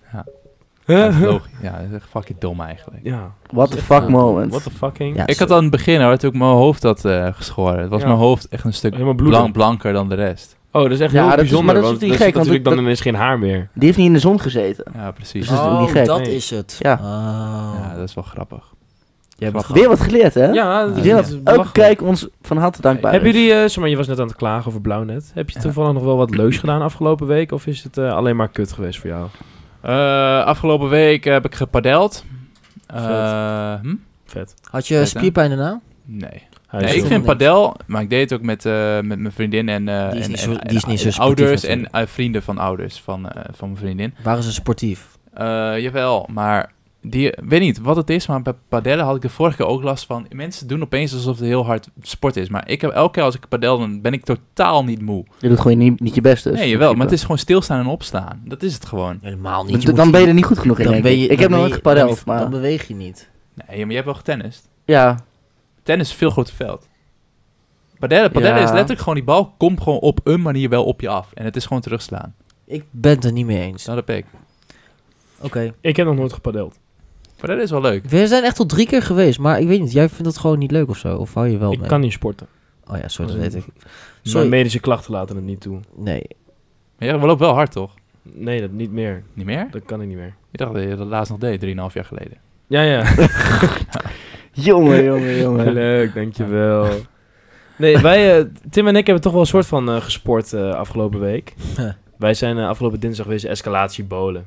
D: Ja, dat is logisch. Ja, dat is echt fucking dom eigenlijk.
A: Ja.
C: What the fuck moment.
A: What the fucking...
B: Ja,
D: Ik had
B: sorry.
D: aan het begin hoor, toen ik mijn hoofd had eh, geschoren. Het was
A: Ja.
D: mijn hoofd echt een stuk
A: Helemaal bloedig.
D: blank, blanker dan de rest.
A: Oh, dat is echt
C: Ja,
A: heel
C: dat is-
A: bijzonder,
C: maar dat is
A: want
C: natuurlijk
A: dan
C: gek,
A: zit natuurlijk
C: want dat-
A: dan ineens geen haar meer.
C: Die heeft niet in de zon gezeten.
D: Ja, precies.
C: Dus- dat is
B: oh,
C: niet gek.
B: dat
A: Nee.
B: is het.
C: Ja.
B: Oh.
D: Ja, dat is wel grappig.
B: Jij bent
D: grappig.
C: Weer wat geleerd, hè?
A: Ja, dat
C: Ik
A: is-
C: denk
A: dat is
C: dat elke
A: belachelijk.
C: kijk ons van harte dankbaar
A: Hebben
C: is.
A: jullie, eh, zeg maar, je was net aan het klagen over blauw net. Heb je toevallig nog wel wat leuks gedaan afgelopen week? Of is het eh, alleen maar kut geweest voor jou?
D: Eh, afgelopen week heb ik gepadeld. Eh, hm?
A: Vet.
B: Had je spierpijn daarna?
D: Nee.
A: Hij
D: nee
A: is
D: ik
A: zo-
B: helemaal
D: vind
B: niks.
D: padel, maar ik deed het ook met, eh, met mijn vriendin en, eh,
B: Die is
D: en-
B: niet
D: en-
B: zo- die is
D: en-
B: niet zo
D: en
B: sportief
D: ouders en
B: natuurlijk.
D: eh, vrienden van ouders van, eh, van mijn vriendin.
B: Waren ze sportief?
D: Eh, jawel, maar die, weet niet wat het is, maar bij padellen had ik de vorige keer ook last van. Mensen doen opeens alsof het heel hard sport is, maar ik heb elke keer als ik padel, dan ben ik totaal niet moe.
C: Je doet gewoon niet, niet je best dus.
D: nee, jawel, maar het is gewoon stilstaan en opstaan. Dat is het gewoon.
B: Helemaal
C: Dan- dan ben je er niet goed genoeg in, denk ik. Ik heb nog nooit gepadeld,
B: maar... Dan
C: maar...
B: beweeg je niet.
D: Nee, maar jij hebt wel getennist.
C: Ja,
D: Tennis is een veel groter veld. Padellen, padellen
C: Ja.
D: is letterlijk gewoon, die bal komt gewoon op een manier wel op je af. En het is gewoon terugslaan.
B: Ik ben het er niet mee eens.
D: Nou, dat ben ik.
B: Oké.
A: Ik heb nog nooit gepadeld.
D: Padellen is wel leuk.
B: We zijn echt tot drie keer geweest, maar ik weet niet. Jij vindt dat gewoon niet leuk of zo? Of hou je wel
A: ik
B: mee?
A: kan niet sporten.
B: Oh ja, sorry, dat
A: Als
B: weet ik.
A: Mijn
B: Sorry.
A: medische klachten laten het niet toe.
B: Nee.
D: Maar jij loopt wel hard, toch?
A: Nee, dat niet meer.
D: Niet meer?
A: Dat kan ik niet meer.
D: Ik dacht dat je dat laatst nog deed, 3,5 jaar geleden.
A: Ja, ja.
C: Jongen, jongen, jongen.
A: Leuk, dankjewel. Nee, wij, eh, Tim en ik hebben toch wel een soort van eh, gesport eh, afgelopen week. wij zijn eh, afgelopen dinsdag geweest escalatie bowlen.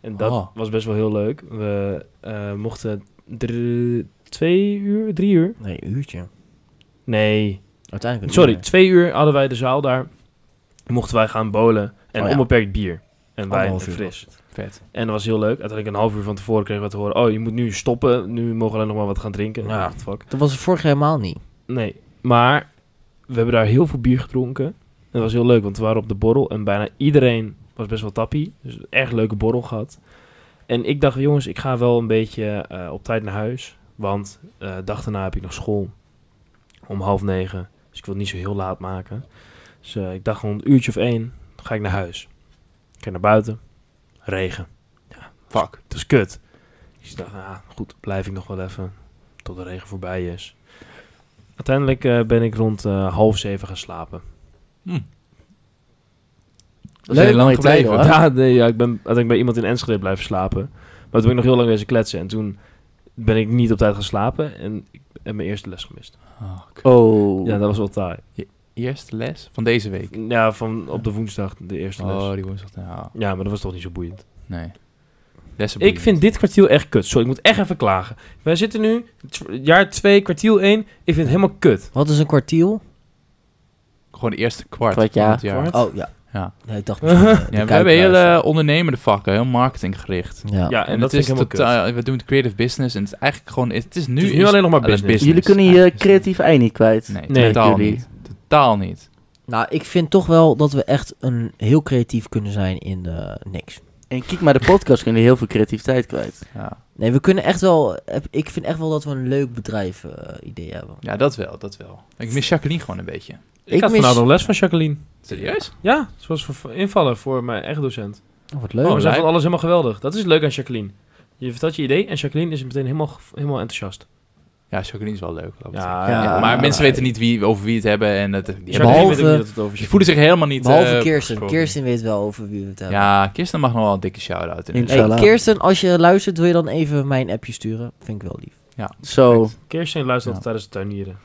A: En dat
D: Oh.
A: was best wel heel leuk. We eh, mochten dr- twee uur, drie uur?
B: Nee, een uurtje.
A: Nee,
B: Uiteindelijk een
A: sorry,
B: uur.
A: twee uur hadden wij de zaal daar. Mochten wij gaan bowlen en
B: Oh ja.
A: onbeperkt bier. En wijn en
B: Anderhalf uur
A: fris.
D: Vet.
A: En dat was heel leuk. Uiteindelijk een half uur van tevoren kregen we te horen... oh, je moet nu stoppen, nu mogen we alleen nog maar wat gaan drinken.
B: Ja.
A: What the fuck.
B: Dat was het vorig jaar helemaal niet.
A: Nee, maar we hebben daar heel veel bier gedronken. En dat was heel leuk, want we waren op de borrel en bijna iedereen was best wel tappie. Dus een erg leuke borrel gehad. En ik dacht, jongens, ik ga wel een beetje eh, op tijd naar huis. Want eh dag daarna heb ik nog school. Om half negen. Dus ik wil het niet zo heel laat maken. Dus eh, ik dacht gewoon een uurtje of één. Dan ga ik naar huis. Ik ga naar buiten. Regen.
D: Fuck.
A: Het is kut. Dus ik dacht, ah, goed, blijf ik nog wel even tot de regen voorbij is. Uiteindelijk eh, ben ik rond eh, half zeven gaan slapen.
C: Dat is heel lang
D: Leuk.
C: gebleven,
D: Gebleven.
C: hoor.
A: Ja, nee, ja, ik ben uiteindelijk bij iemand in Enschede blijven slapen. Maar toen ben ik nog heel lang wezen kletsen. En toen ben ik niet op tijd gaan slapen en ik heb mijn eerste les gemist.
D: Oh, kut.
C: Oh.
A: Ja, dat was wel taai.
D: Eerste les van deze week.
A: Ja, van op de woensdag de eerste les.
D: Oh, die woensdag. Ja,
A: Ja, maar dat was toch niet zo boeiend.
D: nee. Lessen
A: Ik vind dit kwartiel echt kut. Sorry, ik moet echt even klagen. Wij zitten nu, t- jaar 2, kwartiel 1. Ik vind het helemaal kut.
B: Wat is een kwartiel?
D: Gewoon de eerste kwart.
C: Kwart, ja.
D: van het jaar.
A: Kwart.
B: Oh, ja.
D: Ja.
B: Nee, ik dacht misschien, eh, de
D: Ja, we hebben
B: kuitluis.
D: hele ondernemende vakken, heel marketinggericht.
B: Ja.
A: Ja, en, dat
D: het
A: vind ik helemaal kut.
D: totaal- We doen het creative business en het is eigenlijk gewoon... Het is nu,
A: Het is nu
D: is-
A: alleen nog maar
D: alleen
A: business.
C: Jullie kunnen je creatieve ei niet kwijt.
D: Nee,
A: Nee,
D: totaal
C: jullie.
D: niet. Totaal niet.
B: Nou, ik vind toch wel dat we echt een heel creatief kunnen zijn in eh, niks.
C: En kijk maar, de podcast kunnen heel veel creativiteit kwijt.
D: Ja.
B: Nee, we kunnen echt wel... eh, Ik vind echt wel dat we een leuk bedrijf eh, idee hebben.
D: ja, dat wel, dat wel. Ik mis Jacqueline gewoon een beetje.
A: Ik,
B: Ik
A: had
B: mis-
A: vanavond een les van Jacqueline.
D: Serieus?
A: Ja, ze was voor- invallen voor mijn eigen docent.
B: Oh, wat
A: Oh,
B: leuk.
A: ze
D: lijp.
A: vond alles helemaal geweldig. Dat is leuk aan Jacqueline. Je vertelt je idee en Jacqueline is meteen helemaal, helemaal enthousiast.
D: Ja, Chocoline is wel leuk. wat dat betreft.
A: Ja,
D: Ja,
C: ja,
D: maar
C: ja.
D: mensen weten niet wie, over wie het hebben. En het, die
A: Chardonnay
D: hebben-
B: behalve-
A: weet ook niet dat het over
D: ze voelen zich helemaal niet...
B: Behalve
D: eh,
B: Kirsten.
D: opgesproken.
B: Kirsten weet wel over wie we het hebben.
D: Ja, Kirsten mag nog wel een dikke shout-out. in.
C: In-
B: Hey,
C: Inshallah.
B: Kirsten, als je luistert, wil je dan even mijn appje sturen? Vind ik wel lief.
C: Zo.
A: Kirsten luistert altijd
B: Ja.
A: tijdens het tuinieren.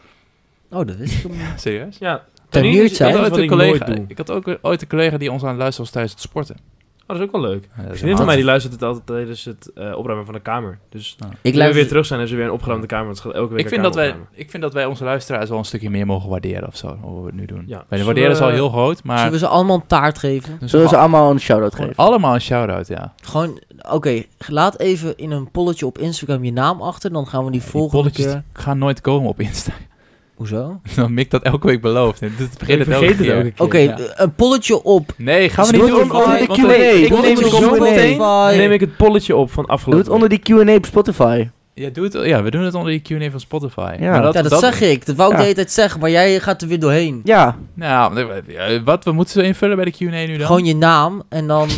B: Oh, dat is
D: Serieus?
A: Ja,
B: Tuiniert
A: is
B: zij?
A: iets
D: Ik had,
A: wat
D: ooit een
A: ik nooit
D: collega,
A: doe.
D: ik had ook ooit een collega die ons aan het luisteren was tijdens het sporten.
A: Oh, dat is ook wel leuk.
D: Ja, dat is
A: Een vriendin van mij
D: een-
A: die luistert het altijd tijdens het eh, opruimen van de kamer. Dus
B: Ik
A: nu we weer
B: luister...
A: terug zijn, hebben ze weer een opgeruimde kamer. Want ze gaat elke week
D: ik,
A: haar
D: vind dat
A: kamer
D: wij,
A: opruimen.
D: ik vind dat wij onze luisteraars wel een stukje meer mogen waarderen of zo. Hoe we het nu doen.
A: Ja.
D: Wij
A: Zullen
D: waarderen is al
A: we-
D: heel groot, maar...
B: Zullen we ze allemaal een taart geven?
D: Dus
C: Zullen we ze
D: al-
C: allemaal een shout-out
D: gewoon
C: geven?
D: allemaal een shout-out, ja.
B: Gewoon, oké, laat even in een polletje op Instagram je naam achter. Dan gaan we die volgende
D: polletjes
B: keer...
D: gaan nooit komen op Insta.
B: Hoezo?
D: Dan Mick dat elke week belooft. En dit
A: Ik
D: begint het elke
A: vergeet het
D: keer.
A: elke keer.
B: Oké,
D: Ja.
B: een polletje op...
D: Nee, gaan we
C: Doe
D: niet
C: het
D: doen.
C: onder- onder
D: want-
C: de
D: want-
C: Q&A.
D: want-
C: Ik
D: want-
C: neem
D: want-
C: het
D: want-
C: zo meteen.
A: Dan neem ik het polletje op van
C: Doe
A: afgelopen
C: het onder die Q&A op Spotify.
D: Ja, doe het, ja, we doen het onder de Q&A van Spotify.
C: Ja.
D: Maar
B: Ja, dat, zeg ik. Dat wou ik
C: Ja.
B: de hele tijd zeggen, maar jij gaat er weer doorheen.
C: Ja.
D: Nou, eh, wat? We moeten ze invullen bij de Q&A nu dan?
B: Gewoon je naam en dan...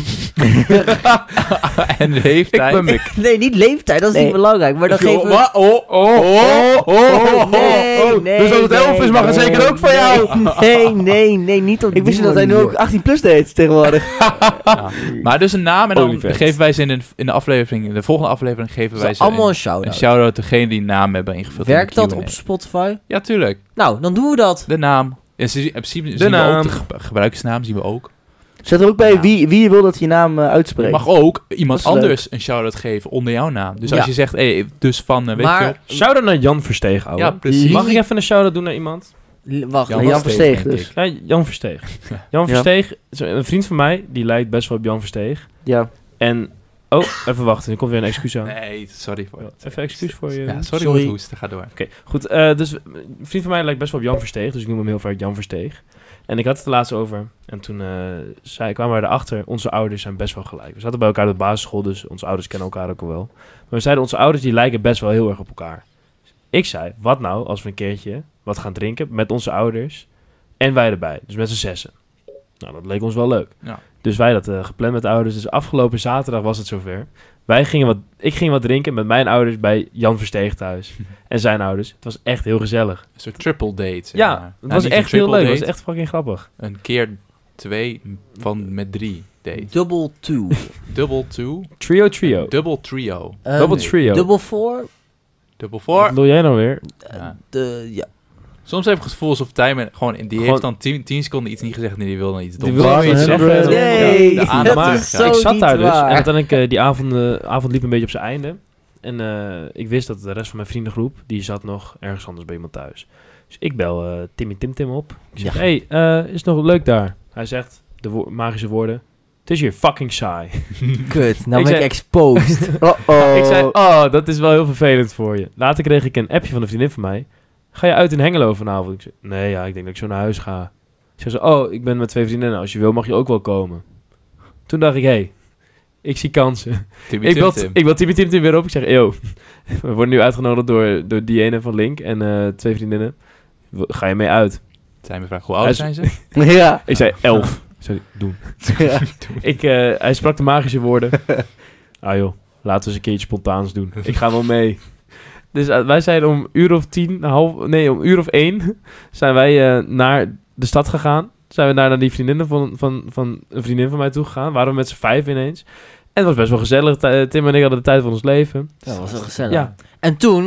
D: en de leeftijd.
A: Ik ben Mick.
B: nee, niet leeftijd, dat is niet
C: Nee.
B: belangrijk. Maar dan
D: Joh,
B: geven we...
D: wa- Oh, oh, oh, oh, oh,
B: nee,
D: oh.
B: nee,
D: Dus als het
B: nee,
D: elf is, mag het
B: nee,
D: zeker ook van
B: nee,
D: jou.
B: Nee, nee, nee, niet op
C: Ik wist
B: die
C: niet dat hij nu ook
B: manier.
C: 18 plus deed tegenwoordig.
D: Maar dus een naam en dan
A: Olifant.
D: geven wij ze in de, in de aflevering, in de volgende aflevering geven
B: Dus
D: wij ze
B: allemaal
D: een,
B: een shout-out.
D: een shout-out degene die een naam hebben ingevuld. in de
B: Werkt dat
D: Q&A.
B: op Spotify?
D: Ja, tuurlijk.
B: Nou, dan doen we dat.
D: De naam. En ze- in principe zien we
A: naam.
D: ook de ge- gebruikersnaam, zien we ook.
C: Zet er ook bij
D: Ja.
C: wie, wie je wil dat je naam eh,
D: Je
C: uitspreekt.
D: mag ook iemand
C: Dat is leuk.
D: anders een shout-out geven onder jouw naam. Dus als
B: Ja.
D: je zegt, hey, dus van, eh, weet je
B: maar,
A: Shout-out naar Jan Versteeg,
D: wel.
A: ouwe.
D: Ja, precies.
A: Mag ik even een shout-out doen naar iemand?
B: l- wacht.
C: Jan
B: wacht.
C: Versteeg,
D: denk
C: dus.
D: ik.
A: Ja, Jan Versteeg. Jan
C: Ja.
A: Versteeg, is een vriend van mij, die lijkt best wel op Jan Versteeg.
C: Ja.
A: En, oh, even wachten, er komt weer een excuus aan.
D: Nee, sorry voor het.
A: Even excuus voor je. Oké,
D: Ja, sorry,
B: Sorry.
D: voor het hoesten. Ga door.
A: goed. eh, dus een vriend van mij lijkt best wel op Jan Versteeg, dus ik noem hem heel vaak Jan Versteeg. En ik had het er laatst over. En toen eh, zei, kwamen we erachter, onze ouders zijn best wel gelijk. We zaten bij elkaar op de basisschool, dus onze ouders kennen elkaar ook al wel. Maar we zeiden, onze ouders die lijken best wel heel erg op elkaar. Ik zei, wat nou als we een keertje wat gaan drinken met onze ouders en wij erbij. Dus met z'n zessen. Nou, dat leek ons wel leuk.
D: Ja.
A: Dus wij dat eh, gepland met de ouders. Dus afgelopen zaterdag was het zover. Wij gingen wat, ik ging wat drinken met mijn ouders bij Jan Versteeg thuis. en zijn ouders. Het was echt heel gezellig.
D: Een soort triple date. zeg
A: Ja,
D: maar.
A: het
D: Nou,
A: was
D: niet een
A: echt heel
D: triple
A: leuk. Het was
D: date,
A: echt fucking grappig.
D: Een keer twee van met drie date.
B: Double two.
D: Double two.
A: Trio Trio.
D: Double trio.
B: Eh,
A: Double Trio.
B: Double four.
D: Double
A: Wat
D: four.
A: doe jij nou weer?
D: Ja.
B: De, ja.
D: Soms heb ik het gevoel alsof Tijmen gewoon... Die heeft
A: Gewoon-
D: dan 10 seconden iets niet gezegd en die wil dan iets
A: Die
D: doms.
A: wil
C: Waar
A: nog iets
C: hebben
A: zeggen.
C: we- Nee,
D: Ja, de aandacht.
B: dat
A: maar
B: is zo
A: ik zat
B: niet
A: daar dus. En
B: waar.
A: uiteindelijk eh, die avond, eh, avond liep een beetje op zijn einde. En eh, ik wist dat de rest van mijn vriendengroep, die zat nog ergens anders bij iemand thuis. Dus ik bel eh, Timmy Tim Tim op. Ik zeg,
B: Ja.
A: hey, eh, is het nog leuk daar? Hij zegt, de wo- magische woorden, het is hier fucking saai.
B: Kut, nou
A: Ik
B: ben ik
A: zei-
B: exposed.
C: Oh-oh.
A: Ik zei, oh, dat is wel heel vervelend voor je. Later kreeg ik een appje van een vriendin van mij. Ga je uit in Hengelo vanavond? Ik zei, nee, ja, ik denk dat ik zo naar huis ga. Ze zei, oh, ik ben met twee vriendinnen. Als je wil, mag je ook wel komen. Toen dacht ik, hé, hey, ik zie kansen.
D: Timmy
A: Ik
D: Tim
A: bel,
D: Tim.
A: ik bel Timmy Tim Tim weer op. Ik zeg, yo, we worden nu uitgenodigd door, door Diane van Link en eh, twee vriendinnen. W- Ga je mee uit?
D: Tijmen vraagt, hoe
A: Hij
D: oud
A: is-
D: zijn ze?
C: Ja.
A: Ik zei, elf. Sorry, doen.
C: Ja.
A: Ik, eh, hij sprak de magische woorden. ah joh, laten we eens een keertje spontaans doen. Ik ga wel mee. Dus eh, wij zijn om uur of tien, half, nee, om uur of één zijn wij eh, naar de stad gegaan. Zijn we daar naar die vriendinnen van, van, van een vriendin van mij toe gegaan. Waren we met z'n vijf ineens. En het was best wel gezellig. Ti- eh, Tim en ik hadden de tijd van ons leven.
B: dat was wel gezellig.
A: Ja.
B: En toen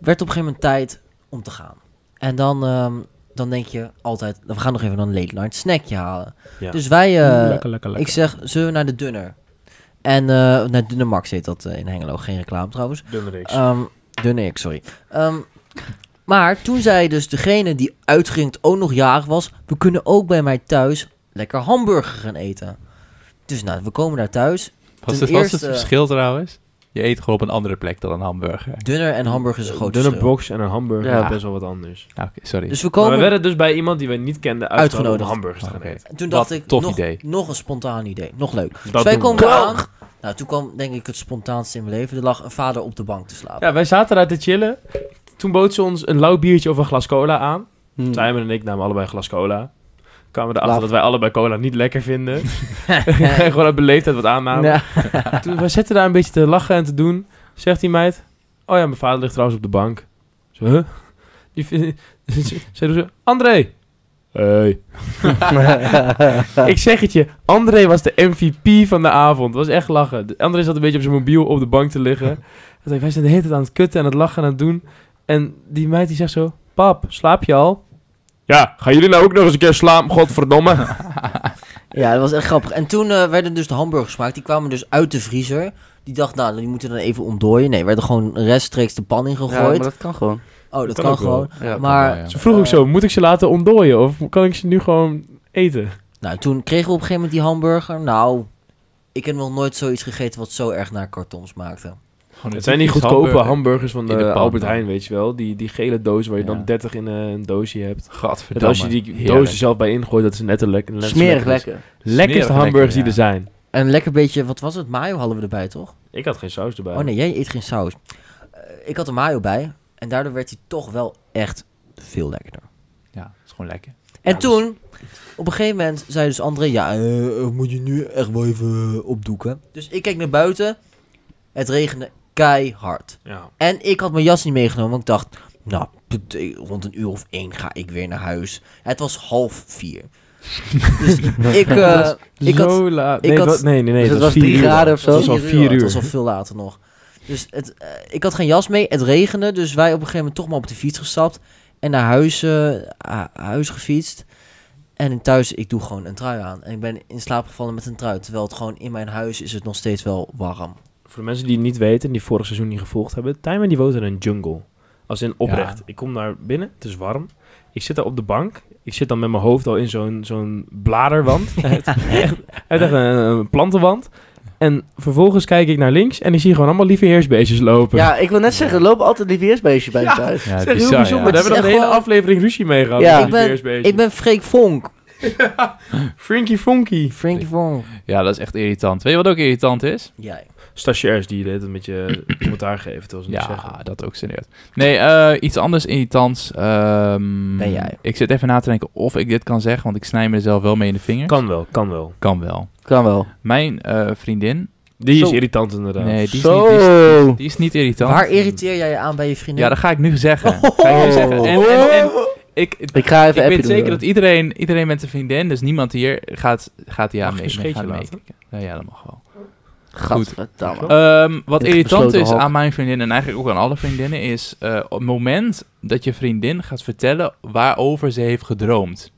B: werd op een gegeven moment tijd om te gaan. En dan, ehm, dan denk je altijd, nou, we gaan nog even een late night snackje halen.
A: Ja.
B: Dus wij,
A: lekker,
B: eh,
A: lekker, lekker.
B: ik zeg, zullen we naar de dunner? En eh, naar Dunner Max heet dat eh, in Hengelo, geen reclame trouwens. Ehm dunne ik, sorry. Ehm, maar toen zei dus degene die uitging ook nog jarig was... we kunnen ook bij mij thuis lekker hamburger gaan eten. Dus nou, we komen daar thuis.
D: Was
B: Ten
D: het, was het
B: eerste-
D: verschil trouwens? Je eet gewoon op een andere plek dan een hamburger.
B: Dunner en hamburger is een groot
A: dunne
B: verschil.
A: box en een hamburger
C: Ja.
A: is best wel wat anders.
D: Ah, Oké, sorry.
B: Dus we
A: Maar we
B: komen...
A: werden dus bij iemand die we niet kenden uitgenodigd om
B: Uitgenodigd.
A: hamburgers te gaan
D: Oké.
A: eten.
B: Toen dacht
D: Wat
B: ik,
D: tof
B: nog,
D: idee.
B: nog een spontaan idee. Nog leuk.
A: Dat
B: dus wij
A: doen we.
B: komen eraan. Nou, toen kwam denk ik het spontaanste in mijn leven. Er lag een vader op de bank te slapen.
A: Ja, wij zaten daar te chillen. Toen bood ze ons een lauw biertje of een glas cola aan.
C: Hm.
A: Simon en ik namen allebei een glas cola. Kwamen erachter
C: Laf.
A: dat wij allebei cola niet lekker vinden. en gewoon uit beleefdheid wat aannamen.
C: Ja.
A: Toen, we zitten daar een beetje te lachen en te doen. Zegt die meid... Oh ja, mijn vader ligt trouwens op de bank. Zo, huh? Die vind- ze ze doen zo, André! Hey. ik zeg het je, André was de MVP van de avond. Het was echt lachen. De- André zat een beetje op zijn mobiel op de bank te liggen. Hij zei, wij zijn de hele tijd aan het kutten en aan het lachen en aan het doen. En die meid die zegt zo, pap, slaap je al? Ja, gaan jullie nou ook nog eens een keer slapen, godverdomme?
B: Ja, dat was echt grappig. En toen eh, werden dus de hamburgers gemaakt. Die kwamen dus uit de vriezer. Die dacht, nou, die moeten dan even ontdooien. Nee, werden gewoon rechtstreeks de pan
C: Ja, maar
B: ingegooid.
C: dat kan gewoon.
B: oh, dat
A: kan
B: kan,
A: ook wel.
B: gewoon.
C: Ja.
B: maar
D: ja.
A: Ze vroeg ook zo, moet ik ze laten ontdooien of kan ik ze nu gewoon eten?
B: nou, toen kregen we op een gegeven moment die hamburger. Nou, ik heb nog nooit zoiets gegeten wat zo erg naar karton smaakte.
D: Gewoon een
A: Het zijn die
D: typisch
A: goedkope
D: hamburger.
A: hamburgers van
D: In de
A: de
D: pan,
A: Albert
D: dan.
A: Heijn, weet je wel. Die, die gele dozen waar je
D: Ja.
A: dan 30 in eh, een doosje hebt. Dat
D: Gadverdamme.
A: als je die
D: Heerlijk.
A: dozen zelf bij ingooit, dat is net een lekker. net zo
C: Smerig
A: lekker.
C: lekker.
A: Lekkerste
D: Smerig
A: hamburgers die er
D: lekker,
A: zijn.
B: En een lekker beetje, wat was het? Mayo hadden we erbij, toch?
A: Ik had geen saus erbij.
B: Oh nee, jij eet geen saus. Eh, ik had er mayo bij. En daardoor werd hij toch wel echt veel lekkerder.
D: Ja, dat is gewoon lekker.
B: En
A: Ja, dus
B: toen, op een gegeven moment, zei dus André... Ja, eh, eh, moet je nu echt wel even eh, opdoeken. Dus ik keek naar buiten. Het regende keihard.
A: Ja.
B: En ik had mijn jas niet meegenomen. Want ik dacht, nou, put- eh, rond een uur of één ga ik weer naar huis. Het was half vier. dus ik... eh, Ik had-
A: Zo laat.
B: ik
A: Nee,
B: had-
A: het was- nee, nee, nee. het
C: Dus het
A: was
C: was
A: vier
C: drie
A: uur.
C: graden of
A: Het
C: zo.
A: was al
B: Vier uur,
A: vier
B: Het
A: uur.
B: was al veel later nog. Dus het, eh, ik had geen jas mee, het regende. Dus wij op een gegeven moment toch maar op de fiets gestapt. En naar huis, eh, a- huis gefietst. En in thuis, ik doe gewoon een trui aan. En ik ben in slaap gevallen met een trui. Terwijl het gewoon in mijn huis is het nog steeds wel warm.
A: Voor de mensen die het niet weten en die vorig seizoen niet gevolgd hebben. Tijmen die woont in een jungle. Als in oprecht. Ik kom daar binnen, het is warm. Ik zit daar op de bank. Ik zit dan met mijn hoofd al in zo'n zo'n bladerwand. Het echt- het echt een, een plantenwand. En vervolgens kijk ik naar links en ik zie gewoon allemaal lieve heersbeestjes lopen.
C: Ja, ik wil net zeggen, loop altijd die weersbeestje bij je thuis.
D: Ja,
A: Dat is heel bijzonder. Daar
B: Het is
A: hebben we nog een
B: echt
A: hele
B: gewoon-
A: aflevering ruzie mee gehad.
C: Ja.
A: met die
B: Ik ben-
A: veersbeestjes.
B: Ik ben Freek Vonk.
A: Frinky Fonky.
B: Frankie Vonk.
D: Ja, dat is echt irritant. Weet je wat ook irritant is?
B: Jij.
A: Stagiairs die dit een beetje commentaar geven, terwijl ze
D: Ja,
A: niks zeggen.
D: dat ook serieus. Nee, eh, iets anders irritants. ehm,
B: Ben jij?
D: Ik zit even na te denken of ik dit kan zeggen, want ik snij me er zelf wel mee in de vinger.
A: Kan wel, kan wel.
D: Kan wel.
C: Kan wel.
D: Mijn eh, vriendin.
A: Die is
D: Zo.
A: irritant inderdaad.
D: Nee, die is, niet,
C: Zo.
D: die, is, die is niet irritant.
B: Waar irriteer jij je aan bij je vriendin?
D: Ja, dat ga ik nu zeggen. Ga ik nu zeggen. En, en, en ik, ik
C: Oh. Ik ga even appje
D: weet
C: doen,
D: zeker
C: hoor.
D: dat iedereen, iedereen met een vriendin, dus niemand hier gaat, gaat hier aan
A: Mag
D: mee.
A: ik een
D: mee-
A: scheetje
D: gaat
A: laten?
D: meekijken. Nou ja, dat mag wel.
C: Gadverdamme.
D: Ehm, wat
C: In het
D: irritant
C: gesloten
D: is
C: hok.
D: aan mijn vriendin en eigenlijk ook aan alle vriendinnen is eh, op het moment dat je vriendin gaat vertellen waarover ze heeft gedroomd.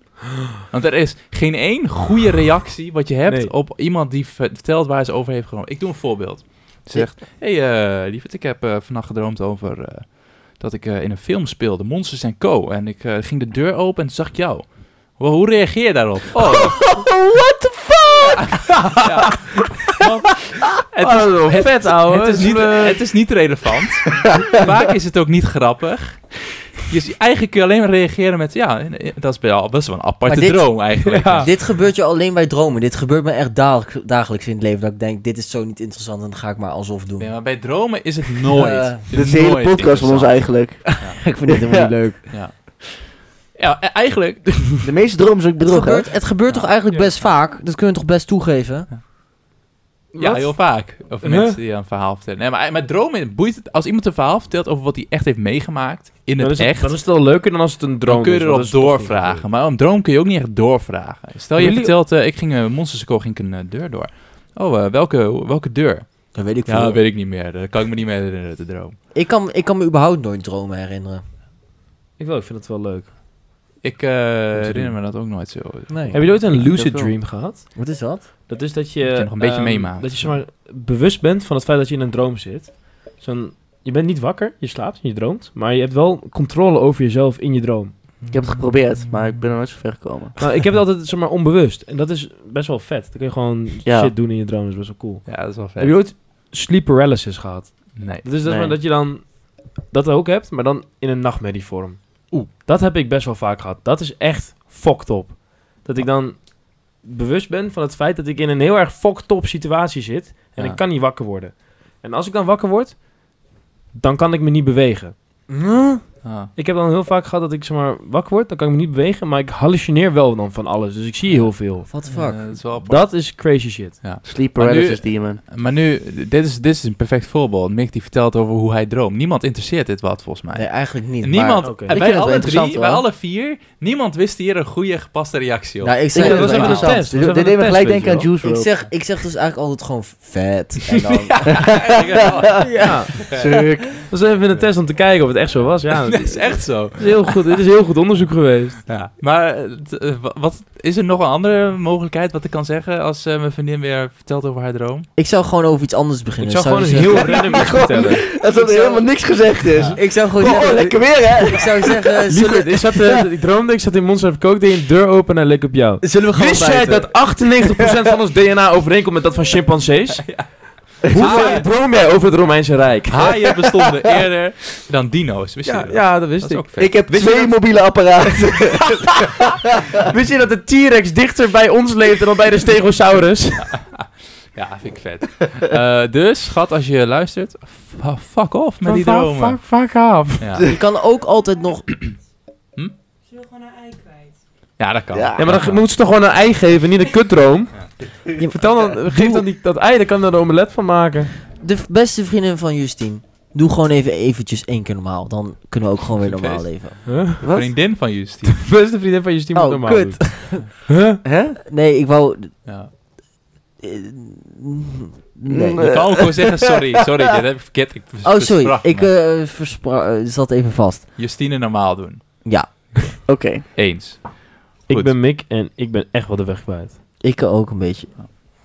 D: Want er is geen één goede reactie wat je hebt
A: Nee.
D: op iemand die ver- vertelt waar ze over heeft gedroomd. Ik doe een voorbeeld. Ze zegt, hé hey, eh, lieverd, ik heb eh, vannacht gedroomd over eh, dat ik eh, in een film speelde, Monsters Co. En ik eh, ging de deur open en toen zag ik jou. Hoe, hoe reageer je daarop? Oh,
C: What the fuck?
D: ja. Want het is het-
A: vet, ouwe.
D: het is, niet, het is niet relevant. Vaak is het ook niet grappig. Dus eigenlijk kun je alleen maar reageren met... Ja, dat is wel, best wel een aparte
B: Maar dit-
D: droom eigenlijk.
B: Dit gebeurt je alleen bij dromen. Dit gebeurt me echt dagelijk- dagelijks in het leven. Dat ik denk, dit is zo niet interessant en dan ga ik maar alsof doen.
D: Nee, maar bij dromen is het nooit.
B: Eh,
D: Het
C: Dit is de hele
D: nooit
C: podcast van ons
D: interessant.
C: eigenlijk.
B: ik vind dit helemaal niet leuk.
D: Ja, e- eigenlijk...
C: De meeste dromen zijn ook
B: Het
C: bedrog, hè?
B: gebeurt, het gebeurt toch eigenlijk best vaak? Dat kunnen we toch best toegeven?
D: Ja, heel vaak. Of
A: Huh?
D: mensen die een verhaal vertellen. Nee, maar eh, met dromen boeit het... Als iemand een verhaal vertelt over wat hij echt heeft meegemaakt... In
A: Dan is
D: het
A: het,
D: echt...
A: dan is het wel leuker dan als het een droom
D: dan kun je
A: is, want
D: erop
A: dat is toch niet
D: doorvragen. Maar een droom kun je ook niet echt doorvragen. Stel, je
A: Jullie-
D: vertelt... eh, ik ging... eh, Monsters Co. ging ik een eh, deur door. Oh, eh, welke, welke deur?
B: Dat weet ik
D: Ja,
B: veel.
D: dat weet ik niet meer. Dat kan ik me niet meer herinneren, de droom.
B: ik, kan, ik kan me überhaupt nooit dromen herinneren.
A: gebeurd. Ik wel, ik vind het wel leuk.
D: Ik eh, herinner me dat ook nooit zo.
B: Nee.
A: Heb je ooit een lucid
C: heb wel.
A: dream gehad?
B: Wat is dat?
A: Dat is dat je...
D: Moet je nog een beetje
A: ehm,
D: meemaken.
A: Dat je zeg maar, bewust bent van het feit dat je in een droom zit. Zo'n, je bent niet wakker, je slaapt en je droomt. Maar je hebt wel controle over jezelf in je droom.
C: Ik heb het geprobeerd, maar ik ben er nooit zo ver gekomen.
A: Nou, ik heb het altijd zeg maar, onbewust. En dat is best wel vet. Dan kun je gewoon
C: Ja.
A: shit doen in je droom. Dat is best wel cool.
D: Ja, dat is wel vet.
A: Heb je ooit sleep paralysis gehad?
D: Nee.
A: Dat is dat,
C: Nee.
A: Dus maar dat je dan dat ook hebt, maar dan in een nachtmerrievorm.
D: Oeh.
A: Dat heb ik best wel vaak gehad. Dat is echt fucked op. Dat ik dan bewust ben van het feit dat ik in een heel erg fucked op situatie zit. En
D: Ja.
A: ik kan niet wakker worden. En als ik dan wakker word, dan kan ik me niet bewegen.
D: Ah.
A: Ik heb dan heel vaak gehad dat ik zeg maar, wakker word, dan kan ik me niet bewegen, maar ik hallucineer wel dan van alles. Dus ik zie heel veel.
B: What the
D: Ja,
B: fuck?
D: Eh, dat is wel apart.
A: Dat is crazy shit.
C: Sleep
D: Maar nu-
C: paralysis demon.
D: Maar nu, dit is, dit is een perfect voorbeeld. Mick die vertelt over hoe hij droomt. Niemand interesseert dit wat, volgens mij.
B: Nee, eigenlijk niet.
D: niemand,
A: maar- Oké.
B: Ik
D: en
B: vind
D: bij
B: het wel
D: alle
B: interessant,
D: drie, bij
B: hoor.
D: alle vier, niemand wist hier een goede gepaste reactie op.
B: Maar, nou, ik zeg,
A: Ja,
B: het
A: dat was
B: wel.
A: even een
B: Ik
A: test.
C: Dit dit deed me gelijk denken aan Juice
B: zeg- ik,
C: WRLD.
B: zeg, ik zeg dus eigenlijk altijd gewoon vet. En dan,
D: Eigenlijk wel.
A: Ja,
C: Suk.
A: dat was even een test om te kijken of het echt zo was. Ja,
D: dat is echt zo.
A: Het is heel goed, het is heel goed onderzoek geweest.
D: Ja. Maar eh, t- eh, wa- wat, is er nog een andere mogelijkheid wat ik kan zeggen als eh, mijn vriendin weer vertelt over haar droom?
B: ik zou gewoon over iets anders
A: Ik
B: beginnen.
A: zou gewoon eens
B: zeggen-
A: heel random iets vertellen.
C: Alsof er helemaal niks gezegd is.
B: Ik zou gewoon
C: Oh,
B: zeggen-
C: lekker weer, hè?
B: Ik zou zeggen, zullen,
A: Lieverd, ik, zat, eh, ik droomde, ik zat in Monster of Coke, deed een deur open en leek op jou.
B: zullen we gewoon
A: Wist jij
B: buiten?
A: dat 98% van ons DNA overeenkomt met dat van chimpansees? Hoe
D: Ah,
A: vaak
D: ja.
A: droom jij over het Romeinse Rijk?
D: Haaien bestonden eerder dan dino's, wist je
A: Ja,
D: dat?
A: ja, dat
D: dat
A: wist
D: is
A: ik.
D: ook vet.
C: Ik heb
A: Wist je
C: twee
A: dat-
C: mobiele apparaten.
A: Wist je dat de T-Rex dichter bij ons leeft dan bij de Stegosaurus?
D: Ja, vind ik vet. Eh, dus, schat, als je luistert, fa- fuck off met die dromen.
A: Fuck, fuck af.
D: Ja.
B: Je kan ook altijd nog...
F: Ze wil gewoon haar ei kwijt.
D: ja, dat kan.
C: Ja.
A: Ja, maar dan moet ze toch gewoon een ei geven, niet een kutdroom.
B: Je-
A: Vertel dan, geef dan die, dat ei, dan kan er een omelet van maken.
B: De v- beste vriendin van Justine. Doe gewoon even eventjes één keer normaal. Dan kunnen we ook gewoon weer normaal
D: Feest.
B: leven.
A: Huh?
C: Wat?
D: Vriendin van Justine.
A: Beste vriendin van je team
B: Oh,
A: normaal
B: kut.
A: doen. Huh?
C: Hè?
B: Nee, ik wou...
D: Ja.
B: eh, Nee.
A: Mm.
D: Je kan ook gewoon zeggen, sorry, sorry, dit heb ik verkeerd. Ik vers-
B: Oh, sorry.
D: versprak
B: Ik
D: me.
B: eh, verspra- eh, zat even vast.
D: Justine normaal doen.
B: Ja,
C: Oké.
D: Eens.
A: Ik
D: Goed.
A: ben Mick en ik ben echt wel de weg kwijt.
B: ik eh, ook een beetje.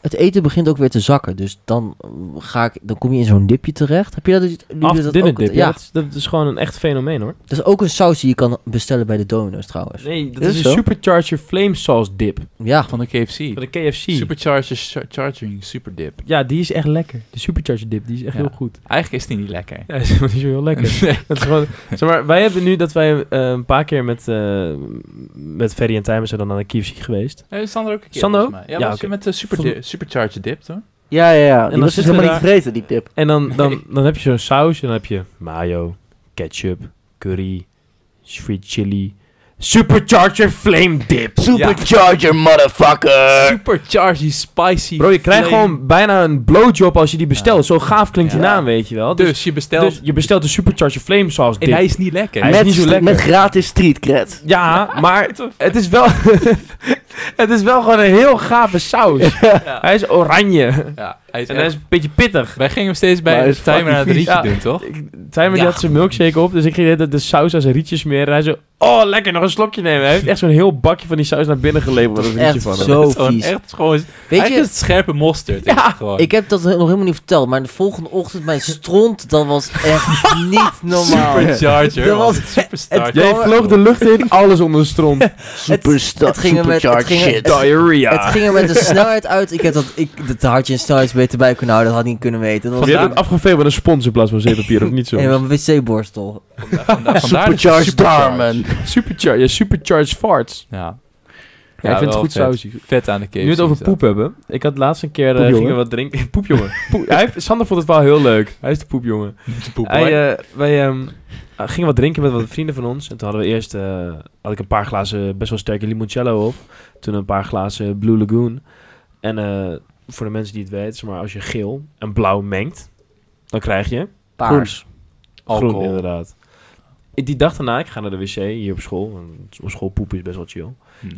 B: Het eten begint ook weer te zakken. Dus dan, eh, ga ik, dan kom je in zo'n dipje terecht. Heb je dat, jullie
A: After
B: dat
A: dinner
B: ook?
A: dip, ja.
B: ja,
A: Dat, is, dat is gewoon een echt fenomeen hoor.
B: dat is ook een saus die je kan bestellen bij de Domino's trouwens.
A: Nee, dat
C: Is
A: is
C: het
A: een
C: zo?
A: supercharger flame sauce dip
B: Ja,
D: Van de KFC.
A: van de KFC.
D: Supercharger, char- charging, superdip.
A: Ja, die is echt lekker. De supercharger dip, die is echt
D: Ja.
A: heel goed.
D: Eigenlijk is die niet lekker.
A: Ja, die is niet zo heel lekker.
D: Nee.
A: Dat is gewoon, zeg maar, wij hebben nu dat wij eh, een paar keer met, eh met Ferry en Timer zijn dan naar de KFC geweest.
D: Nee, Sander ook een keer.
A: Sander
D: volgens mij. Ja,
A: Ja,
D: was je
A: oké.
D: met de super
A: Vol-
D: di- supercharger dip, hoor.
C: Ja, ja, ja.
A: dan
C: Die was dus
A: zitten we
C: helemaal
A: daar-
C: niet gegeten, die tip.
A: En dan, dan, dan heb je zo'n saus en dan heb je mayo, ketchup, curry, sweet chili, supercharger flame dip.
C: Supercharger, motherfucker!
D: Supercharger spicy
A: Bro, je krijgt
D: flame.
A: gewoon bijna een blowjob als je die bestelt. Zo gaaf klinkt die
D: Ja.
A: naam, weet je wel.
D: Dus,
A: Dus, dus,
D: je bestelt...
A: je bestelt de supercharger flame sauce
D: en
A: dip.
D: hij is niet lekker.
A: Hij is
C: Met,
A: niet zo
C: st-
A: lekker.
C: met gratis street cred.
A: Ja, maar het is wel... het is wel gewoon een heel gave saus. Hij is oranje.
D: Ja, hij is
A: En hij
D: echt-
A: is een beetje pittig.
D: Wij gingen hem steeds bij
C: Maar hij
D: een
C: is
D: timer
C: fucking
D: naar het rietje
A: vies.
D: doen, toch?
A: Ik- Timer die
D: Ja.
A: had zijn milkshake op, dus ik ging de, hele tijd de saus aan zijn rietje smeren. En hij zo, oh lekker, nog een slokje nemen. Hij heeft echt zo'n heel bakje van die saus naar binnen geleverd. Dat is rietje
B: echt
A: van hem.
B: zo
D: Het is gewoon
B: vies.
D: echt gewoon...
B: Weet
D: eigenlijk
B: je,
D: is het scherpe mosterd. is het gewoon.
B: Ik heb dat nog helemaal niet verteld, maar de volgende ochtend mijn stront, dat was echt niet normaal.
D: Supercharger.
B: Dat was-
D: man. Superstar.
B: het-
A: Jij vloog de lucht in, alles onder de stront.
C: Superstar,
B: het ging er met-
C: supercharged
B: het ging er-
C: shit.
B: het-
A: Diarrhea.
B: Het ging er met een snelheid uit. Ik heb dat, ik, dat had je een snelheidsmeter bij kunnen houden, dat had ik niet kunnen weten. Dat was
A: Je hebt het afgeveegd met een spons in plaats van zeepapier, of niet zo?
B: en een wc-borstel.
D: Vandaar- vandaar dat-
C: Supercharged Darman.
A: Superchar ja, supercharged farts.
D: Ja.
A: Ja, ik vind het
D: wel
A: goed
D: vet.
A: sausie.
D: Vet aan de case.
A: Nu we het over poep hebben. Ik had laatst een keer... eh,
C: Poepjongen.
A: gingen we wat drinken. poepjongen. Poep, hij, heeft- Sander vond het wel heel leuk. Hij is de poepjongen. Hij, eh, wij ehm, eh, gingen wat drinken met wat vrienden van ons. En toen hadden we eerst eh, had ik een paar glazen best wel sterke limoncello op. Toen een paar glazen Blue Lagoon. En eh, voor de mensen die het weten, zeg maar als je geel en blauw mengt, dan krijg je
B: Paars.
A: groen inderdaad. Ik- Die dag daarna, ik ga naar de wc hier op school. want Op school poepen is best wel chill.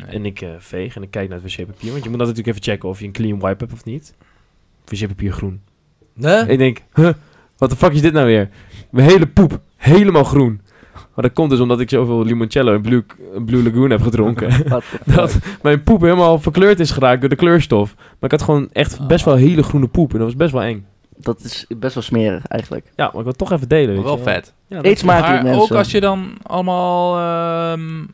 A: En ik eh, veeg en ik kijk naar het wc-papier. Want je moet natuurlijk even checken of je een clean wipe hebt of niet. Wc-papier groen.
D: Eh.
B: Huh?
A: Ik denk, huh, wat de fuck is dit nou weer? Mijn hele poep, helemaal groen. Maar dat komt dus omdat ik zoveel limoncello en Blue, eh, Blue Lagoon heb gedronken. dat mijn poep helemaal verkleurd is geraakt door de kleurstof. Maar ik had gewoon echt best wel hele groene poep. En dat was best wel eng.
C: Dat is best wel smerig, eigenlijk.
A: Ja, maar ik wil het toch even delen. Weet
D: Wel
A: je
D: vet.
A: Ja,
C: Eet smakelijk,
D: Maar
C: mensen.
D: ook als je dan allemaal ehm,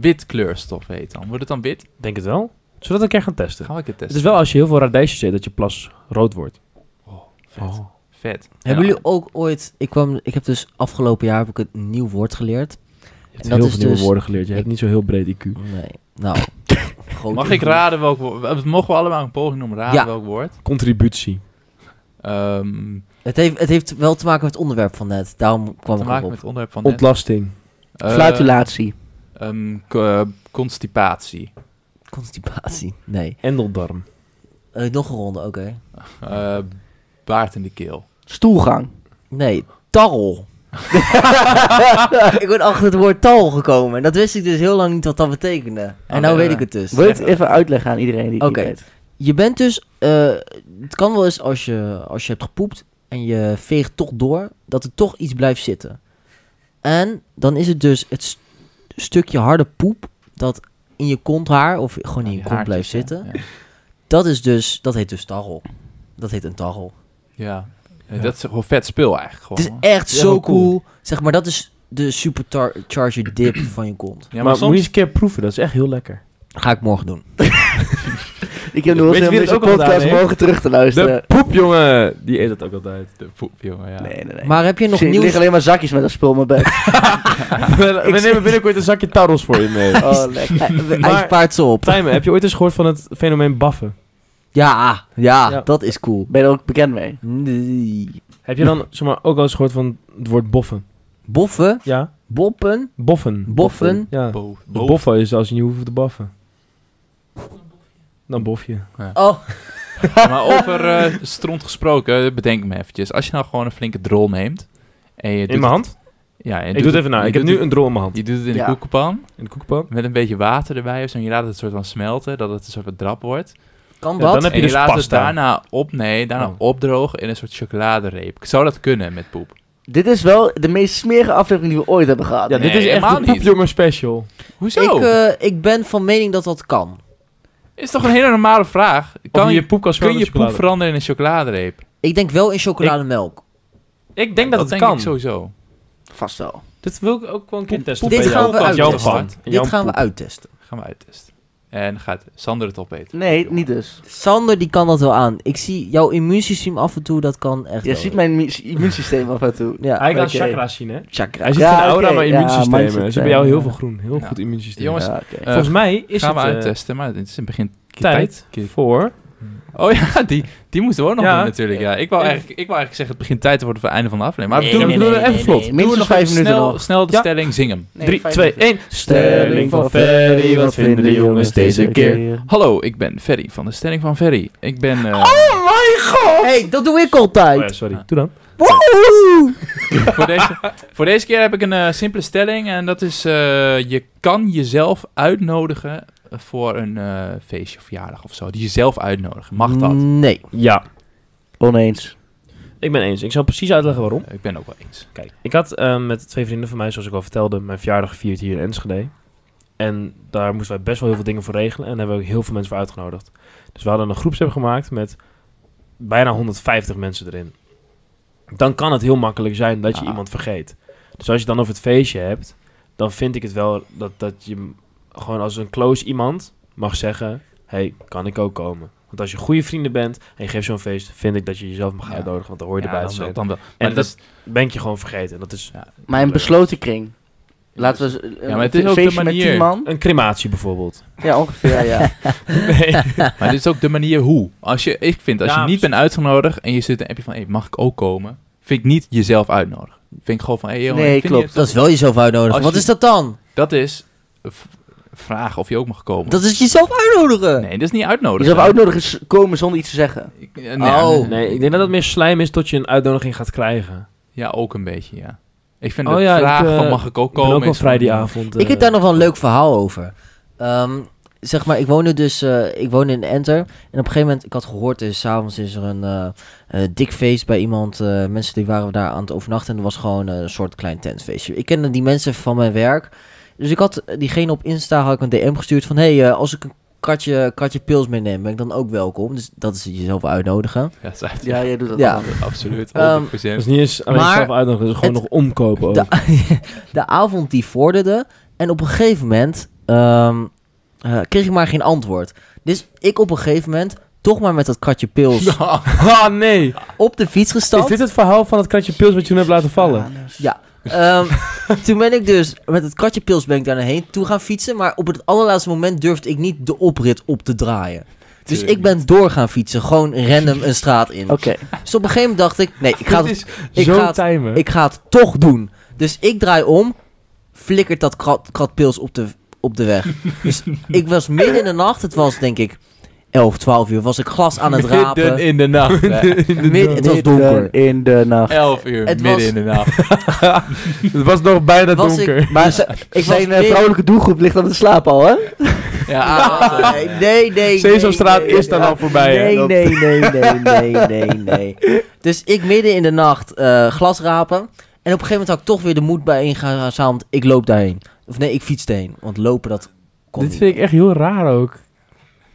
D: wit kleurstof heet dan. Wordt het dan wit?
A: denk het wel. Zodat we dat een keer gaan testen?
D: Gaan we een keer
A: Het
D: testen.
A: is wel als je heel veel radijsjes eet dat je plas rood wordt.
D: Oh, vet. Vet.
B: Hebben
D: Ja.
B: jullie ook ooit... Ik, kwam, ik heb dus afgelopen jaar heb ik een nieuw woord geleerd.
A: Je hebt
B: En dat
A: heel
B: is
A: veel nieuwe
B: dus-
A: woorden geleerd. Je hebt niet zo heel breed IQ.
B: Nee, nou... groot-
D: eh, Mag ik raden welk woord? Mogen we allemaal een poging doen om te raden
B: Ja.
D: welk woord?
A: Contributie.
D: Eh, Ehm,
B: Het heeft, het heeft wel te maken met het onderwerp van net. Daarom kwam
D: te
B: ik
D: maken
B: erop.
D: met het onderwerp van net.
A: Ontlasting.
D: Eh,
C: Flatulatie.
D: ehm, k- eh, constipatie.
B: Constipatie. Nee.
A: Endeldarm.
B: Eh, nog een ronde, oké.
D: Eh, baard in de keel.
C: Stoelgang.
B: Nee, tarrel. ik ben achter het woord tarrel gekomen. En dat wist ik dus heel lang niet wat dat betekende. En
D: Oh,
B: nou
D: nee,
B: weet
D: nee.
B: ik het dus.
C: Wil je het even uitleggen aan iedereen die het
B: Oké.
C: niet weet?
B: Je bent dus... eh, het kan wel eens als je, als je hebt gepoept en je veegt toch door, dat er toch iets blijft zitten. En dan is het dus het st- stukje harde poep dat in je konthaar of gewoon in
D: Nou,
B: je
D: die
B: kont blijft
D: haartjes, hè.
B: zitten.
D: Ja.
B: Dat is dus, dat heet dus tarrel. Dat heet een tarrel.
D: Ja. Eh, Dat is gewoon vet spul eigenlijk.
B: Het is
D: Gewoon.
B: echt
A: Ja,
B: zo
A: wel cool.
B: cool. Zeg maar, dat is de supercharger dip van je kont.
D: Ja,
A: maar
D: maar,
A: moet je
D: soms...
A: eens een keer proeven, dat is echt heel lekker.
B: Ga ik morgen doen.
C: Ik heb nu wel
A: Weet
C: zin
A: je
C: om
A: wie het
C: deze
A: ook al gedaan
C: podcast
A: heeft?
C: morgen terug te luisteren.
A: De poepjongen, die eet dat ook altijd.
D: De poep, jongen, ja.
C: Nee, nee, nee.
B: Maar heb je nog
C: Zie, Er
B: nieuws?
C: liggen alleen maar zakjes met dat spul in mijn bed.
A: We, we nemen binnenkort een zakje tarrels voor je mee.
C: Oh, lekker.
B: Hij- Hij
A: Maar-
B: spaart ze op.
A: Tijmen, heb je ooit eens gehoord van het fenomeen baffen?
B: Ja, ja,
A: Ja.
B: dat is cool.
C: Ben je er ook bekend mee?
B: Nee.
A: Heb je dan zeg maar, ook wel eens gehoord van het woord boffen?
B: Boffen,
A: Ja,
B: boppen,
A: boffen.
B: boffen.
A: Ja,
D: Bo- bo-
A: de boffen is als je niet hoeft te baffen. Dan bof je.
B: Oh,
D: Maar over eh, stront gesproken, eh, bedenk me eventjes. Als je nou gewoon een flinke drol neemt... En je doet
A: In mijn hand?
D: het- Ja, en je
A: Ik doe het even na.
D: je
A: Ik heb
D: doet
A: nu
D: het-
A: een drol in mijn hand.
D: Je doet het in de
C: Ja.
D: koekenpan
A: In de koekenpan.
D: met een beetje water erbij of zo. En je laat het soort van smelten, dat het een soort van drap wordt.
B: kan
A: Ja,
B: dat?
A: dan heb-
D: en je
A: dus
D: laat het
A: pasta.
D: daarna op, nee, daarna
A: Oh.
D: opdrogen in een soort chocoladereep. Zou dat kunnen met poep?
C: Dit is wel de meest smerige aflevering die we ooit hebben gehad.
A: Ja, dit
D: Nee,
A: is echt
D: helemaal
A: een
D: niet.
A: poepjongen special.
D: Hoezo?
B: ik, eh, ik ben van mening dat dat kan.
D: Is toch een hele normale vraag?
A: of
D: Kan
A: je
D: je,
A: poep kan
D: kun
A: smeren
D: je
A: met
D: poep
A: chocolade.
D: veranderen in een chocoladereep?
B: Ik denk wel in chocolademelk.
A: Ik denk dat, het
D: denk
A: kan.
D: ik sowieso.
C: Vast wel.
A: Dit wil ik ook gewoon een keer testen.
B: dit
A: bij jou.
B: gaan we
A: Ook als jouw
B: uittesten.
A: pan. In jouw
B: Dit gaan we
A: poep.
B: uittesten.
D: Gaan we uittesten. En gaat Sander het opeten?
C: Nee, niet dus.
B: Sander die kan dat wel aan. Ik zie jouw immuunsysteem af en toe, dat kan echt
C: Je
B: wel.
C: ziet mijn immu- immuunsysteem af en toe.
B: Ja.
A: Hij kan
C: Oké.
A: chakra zien, hè?
C: Chakra.
A: Hij zit
C: Ja,
A: geen aura,
C: oké,
A: maar
C: ja,
A: immuunsysteem.
C: mindset,
A: er zit bij jou
C: ja.
A: heel veel groen. Heel
D: Ja.
A: goed immuunsysteem.
D: Jongens,
C: Ja, oké.
D: Eh,
A: Volgens mij is
D: gaan
A: het
D: we
A: eh,
D: uittesten, maar het is in het begin
A: tijd
D: keer-
A: voor...
D: Oh ja, die, die moesten we ook nog
A: Ja.
D: doen natuurlijk. Ja. Ik, wou
A: Ja.
D: eigenlijk, ik wou eigenlijk zeggen, het begint tijd te worden voor het einde van de aflevering. Maar
A: Nee,
D: we doen,
A: nee, nee, even vlot.
D: doen
C: Minstens
D: nog
C: vijf
D: even
C: minuten
D: snel,
C: nog.
D: snel de
A: Ja.
D: stelling, zing hem.
C: Nee,
A: 3,
C: vijf
A: 2,
C: minuten.
A: 1. Stelling van Ferry, wat vinden de jongens deze keer?
D: Hallo, ik ben Ferry van de Stelling van Ferry. Ik ben... eh,
B: Oh mijn god! Oh, hey, dat doe ik altijd.
A: Oh ja, sorry. Doe dan.
B: Woe!
D: voor, deze, voor deze keer heb ik een eh, simpele stelling. En dat is, eh, je kan jezelf uitnodigen voor een eh, feestje of verjaardag of zo. Die jezelf uitnodigen. Mag dat?
A: Mm.
B: Nee.
A: Ja,
C: Oneens.
A: ik ben eens. Ik zal precies uitleggen waarom.
D: Ik ben ook wel eens.
A: Kijk, ik had eh, met twee vrienden van mij, zoals ik al vertelde, mijn verjaardag gevierd hier in Enschede. En daar moesten wij best wel heel veel dingen voor regelen. En daar hebben we ook heel veel mensen voor uitgenodigd. Dus we hadden een groepsapp gemaakt met bijna 150 mensen erin. Dan kan het heel makkelijk zijn dat je
D: Ah.
A: iemand vergeet. Dus als je het dan over het feestje hebt, dan vind ik het wel dat, dat je m- gewoon als een close iemand mag zeggen... hey, kan ik ook komen? Want als je goede vrienden bent en je geeft zo'n feest, vind ik dat je jezelf mag
D: Ja.
A: uitnodigen. Want dan hoor je
D: Ja,
A: erbij
D: dan
A: te
D: wel,
A: zijn.
D: dan wel. Maar
A: En
D: dat
A: dat ben ik je gewoon vergeten. En Dat is
C: Maar een besloten kring. Laten we z-
D: maar het is
C: een
D: ook de
C: feestje met
D: manier. Oh,
C: tien man.
A: een crematie bijvoorbeeld.
C: Ja, ongeveer, ja.
A: Nee.
D: Maar dit is ook de manier hoe. Als je, ik vind, als
A: Ja,
D: je niet
A: precies.
D: bent uitgenodigd en je zit een appje van, hey, mag ik ook komen? Vind ik niet jezelf uitnodigen. Vind ik gewoon van, hey, jongen,
C: Nee,
D: vind je-
C: klopt.
B: Dat is wel jezelf uitnodigen.
D: Als
B: Wat
D: je-
B: is dat dan?
D: dat is eh, v- vragen of je ook mag komen.
B: Dat is jezelf uitnodigen.
D: Nee, dat is niet uitnodigen.
C: Jezelf Dus uitnodigen is komen zonder iets te zeggen.
D: Ik- eh, nee,
B: Oh.
A: nee, ik denk dat het meer slijm is tot je een uitnodiging gaat krijgen.
D: Ja, ook een beetje, ja. Ik vind
A: Oh
D: de
A: ja, ik,
D: vraag
A: eh,
D: van, mag ik ook
A: Ik ben
D: komen?
A: ook wel
D: is gewoon-
A: vrijdagavond. eh,
B: Ik heb daar nog wel een leuk verhaal over. Ehm, zeg maar, ik woonde dus eh, ik woonde in Enter. En op een gegeven moment, ik had gehoord, dus s'avonds is er een eh, eh, dik feest bij iemand. eh, mensen die waren daar aan het overnachten. En dat was gewoon eh, een soort klein tentfeestje. Ik kende die mensen van mijn werk. Dus ik had eh, diegene op Insta had ik een DM gestuurd van... Hé, hey, eh, als ik een katje, katje pils meeneem, ben ik dan ook welkom. Dus dat is jezelf uitnodigen.
D: Ja, dat is uit-
C: Ja, jij doet dat
B: Ja.
C: wel.
D: absoluut. 100%.
B: Ehm,
A: Dat is niet eens alleen
B: Maar
A: zelf uitnodigen, het is gewoon
B: het-
A: nog omkopen ook.
B: De, de avond die vorderde. En op een gegeven moment ehm, eh, kreeg ik maar geen antwoord. Dus ik op een gegeven moment toch maar met dat kratje pils
A: Ah nee!
B: op de fiets
A: Is
B: gestapt.
A: dit het verhaal van het kratje pils wat je toen hebt laten vallen?
C: Ja, dus-
B: Ja. Ehm, toen ben ik dus met het kratje pils ben ik daar naar heen toe gaan fietsen. Maar op het allerlaatste moment durfde ik niet de oprit op te draaien. Dus ik ben door gaan fietsen. Gewoon random een straat in.
C: Oké.
B: Dus op een gegeven moment dacht ik, nee, ik ga,
A: Dit
B: het,
A: is
B: ik
A: zo
B: ga het-
A: timen.
B: ik ga het toch doen. Dus ik draai om, flikkert dat krat, kratpils op de, op de weg. dus ik was midden in de nacht, het was denk ik 11, 12 uur, was ik glas aan het
D: Midden
B: rapen.
D: in de nacht. hè.
B: Midden- het was
C: Midden
B: donker.
C: In de nacht.
D: Elf uur,
B: Het
D: midden
B: was-
D: in de nacht.
A: Het was nog bijna
B: Was ik-
A: donker.
C: Maar ze-
B: Ik was
C: zijn eh,
B: midden-
C: vrouwelijke doelgroep ligt aan het slapen al, hè?
D: Ja,
B: Ah,
D: avond,
B: nee,
D: eh.
B: nee, nee.
A: Sesamstraat
B: nee, nee.
A: is dan al voorbij. hè?
B: Nee,
A: Dat-
B: nee, nee, nee, nee, nee, nee. Dus ik midden in de nacht eh glas rapen. En op een gegeven moment had ik toch weer de moed bijeengezameld. Ik loop daarheen. Of nee, ik fiets daarheen. Want lopen, dat kon
A: Dit
B: niet.
A: vind ik echt heel raar ook.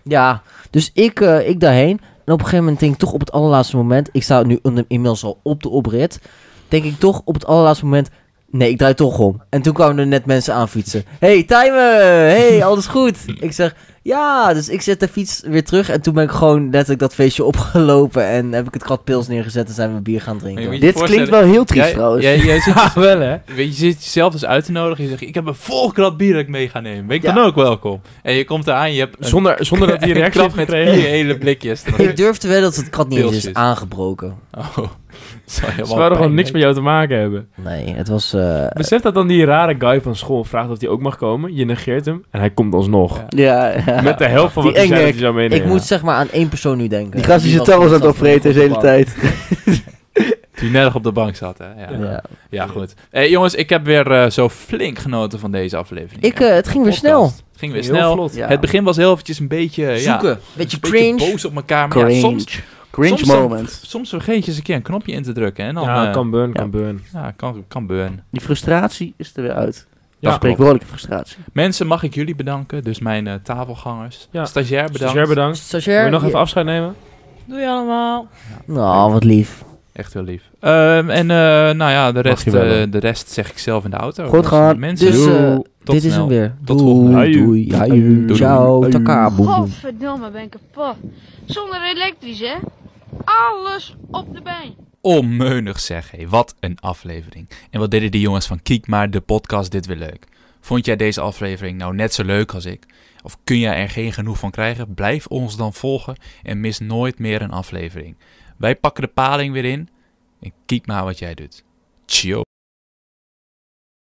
B: Ja, dus ik, eh, ik daarheen. En op een gegeven moment denk ik toch op het allerlaatste moment... Ik sta nu in- inmiddels al op de oprit. Denk ik toch op het allerlaatste moment... Nee, ik draai toch om. En toen kwamen er net mensen aan fietsen. hey, timer! hey, alles goed? Ik zeg, ja. Dus ik zet de fiets weer terug. En toen ben ik gewoon letterlijk dat feestje opgelopen. En heb ik het krat pils neergezet en zijn we bier gaan
D: Maar je
B: drinken.
D: moet je
C: Dit
D: voorstellen-
C: klinkt wel heel triest
D: Jij-
C: trouwens.
D: jij- jij zit-
A: Ah, wel hè?
D: Weet je, je zit jezelf dus uit te nodigen. Je zegt, ik heb een vol krat bier dat ik mee ga nemen. Ben ik
B: Ja.
D: dan ook welkom? En je komt eraan, je hebt een,
A: Zonder, zonder dat hij
D: een
A: reactie heeft
D: krat met
A: gekregen.
D: vier hele blikjes.
B: Ik durf te wedden dat het krat niet eens is
D: Pilsjes.
B: aangebroken.
D: Oh, dat zou
A: Ze
D: helemaal
A: zouden gewoon
D: pijn
A: niks met jou te maken hebben.
B: Nee, het was... eh,
A: Besef dat dan die rare guy van school vraagt of hij ook mag komen. Je negeert hem en hij komt alsnog.
D: Ja.
C: Ja, ja.
A: Met de helft van
C: Die
A: wat hij zei
C: engek.
A: dat hij zou meenemen.
B: ik moet zeg maar aan één persoon nu denken.
C: Die gast die zijn
B: was-
C: tarrels aan het
B: was
C: opvreten de hele tijd.
D: Die nergens op de bank zat, hè? Ja, ja.
B: Ja.
D: goed. Hey, jongens, ik heb weer eh, zo flink genoten van deze aflevering.
B: Ik, eh, het ging weer
D: Podcast.
B: snel.
D: Ging weer
A: Heel
D: snel.
A: vlot.
C: Ja.
D: Het begin was heel eventjes een beetje... eh, ja,
B: Zoeken. Beetje
D: een beetje
B: cringe.
D: boos op elkaar. Maar ja,
C: Cringe.
D: soms,
C: Cringe
D: soms dan-
C: moment.
D: soms vergeet je eens een keer een knopje in te drukken. hè, En dan,
A: Ja,
D: eh,
A: kan burn,
C: ja.
A: kan burn.
D: ja, kan, kan burn.
C: Die frustratie is er weer uit.
A: Ja.
C: Ja, spreekwoordelijke frustratie.
D: Mensen, mag ik jullie bedanken? Dus mijn eh, tafelgangers.
A: Ja.
D: Stagiair bedankt.
A: Stagiair bedankt. Wil
B: Stagiair.
A: je nog
B: je-
A: even afscheid nemen?
D: Doei allemaal.
B: Nou, wat
D: Oh,
B: lief.
D: Echt heel lief. Ehm, en eh, nou ja, de rest,
A: je wel,
D: eh,
A: hoor.
D: de rest zeg ik zelf in de auto.
C: Goed gedaan.
D: Mensen,
B: Dus eh,
D: doei. Tot
B: dit is
D: snel.
B: hem weer.
D: Tot volgende
B: doei,
A: week.
B: doei, ja,
C: Doei.
B: joe,
D: Doei.
B: ciao,
C: Doei.
B: taka, boem, boem.
G: Godverdomme, ben ik kapot. Zonder elektrisch, hè? Alles op de been.
D: Onmeunig zeg, hé. Wat een aflevering. En wat deden die jongens van Kiek maar de podcast dit weer leuk. Vond jij deze aflevering nou net zo leuk als ik? Of kun jij er geen genoeg van krijgen? Blijf ons dan volgen en mis nooit meer een aflevering. Wij pakken de paling weer in en kiek maar wat jij doet. Ciao.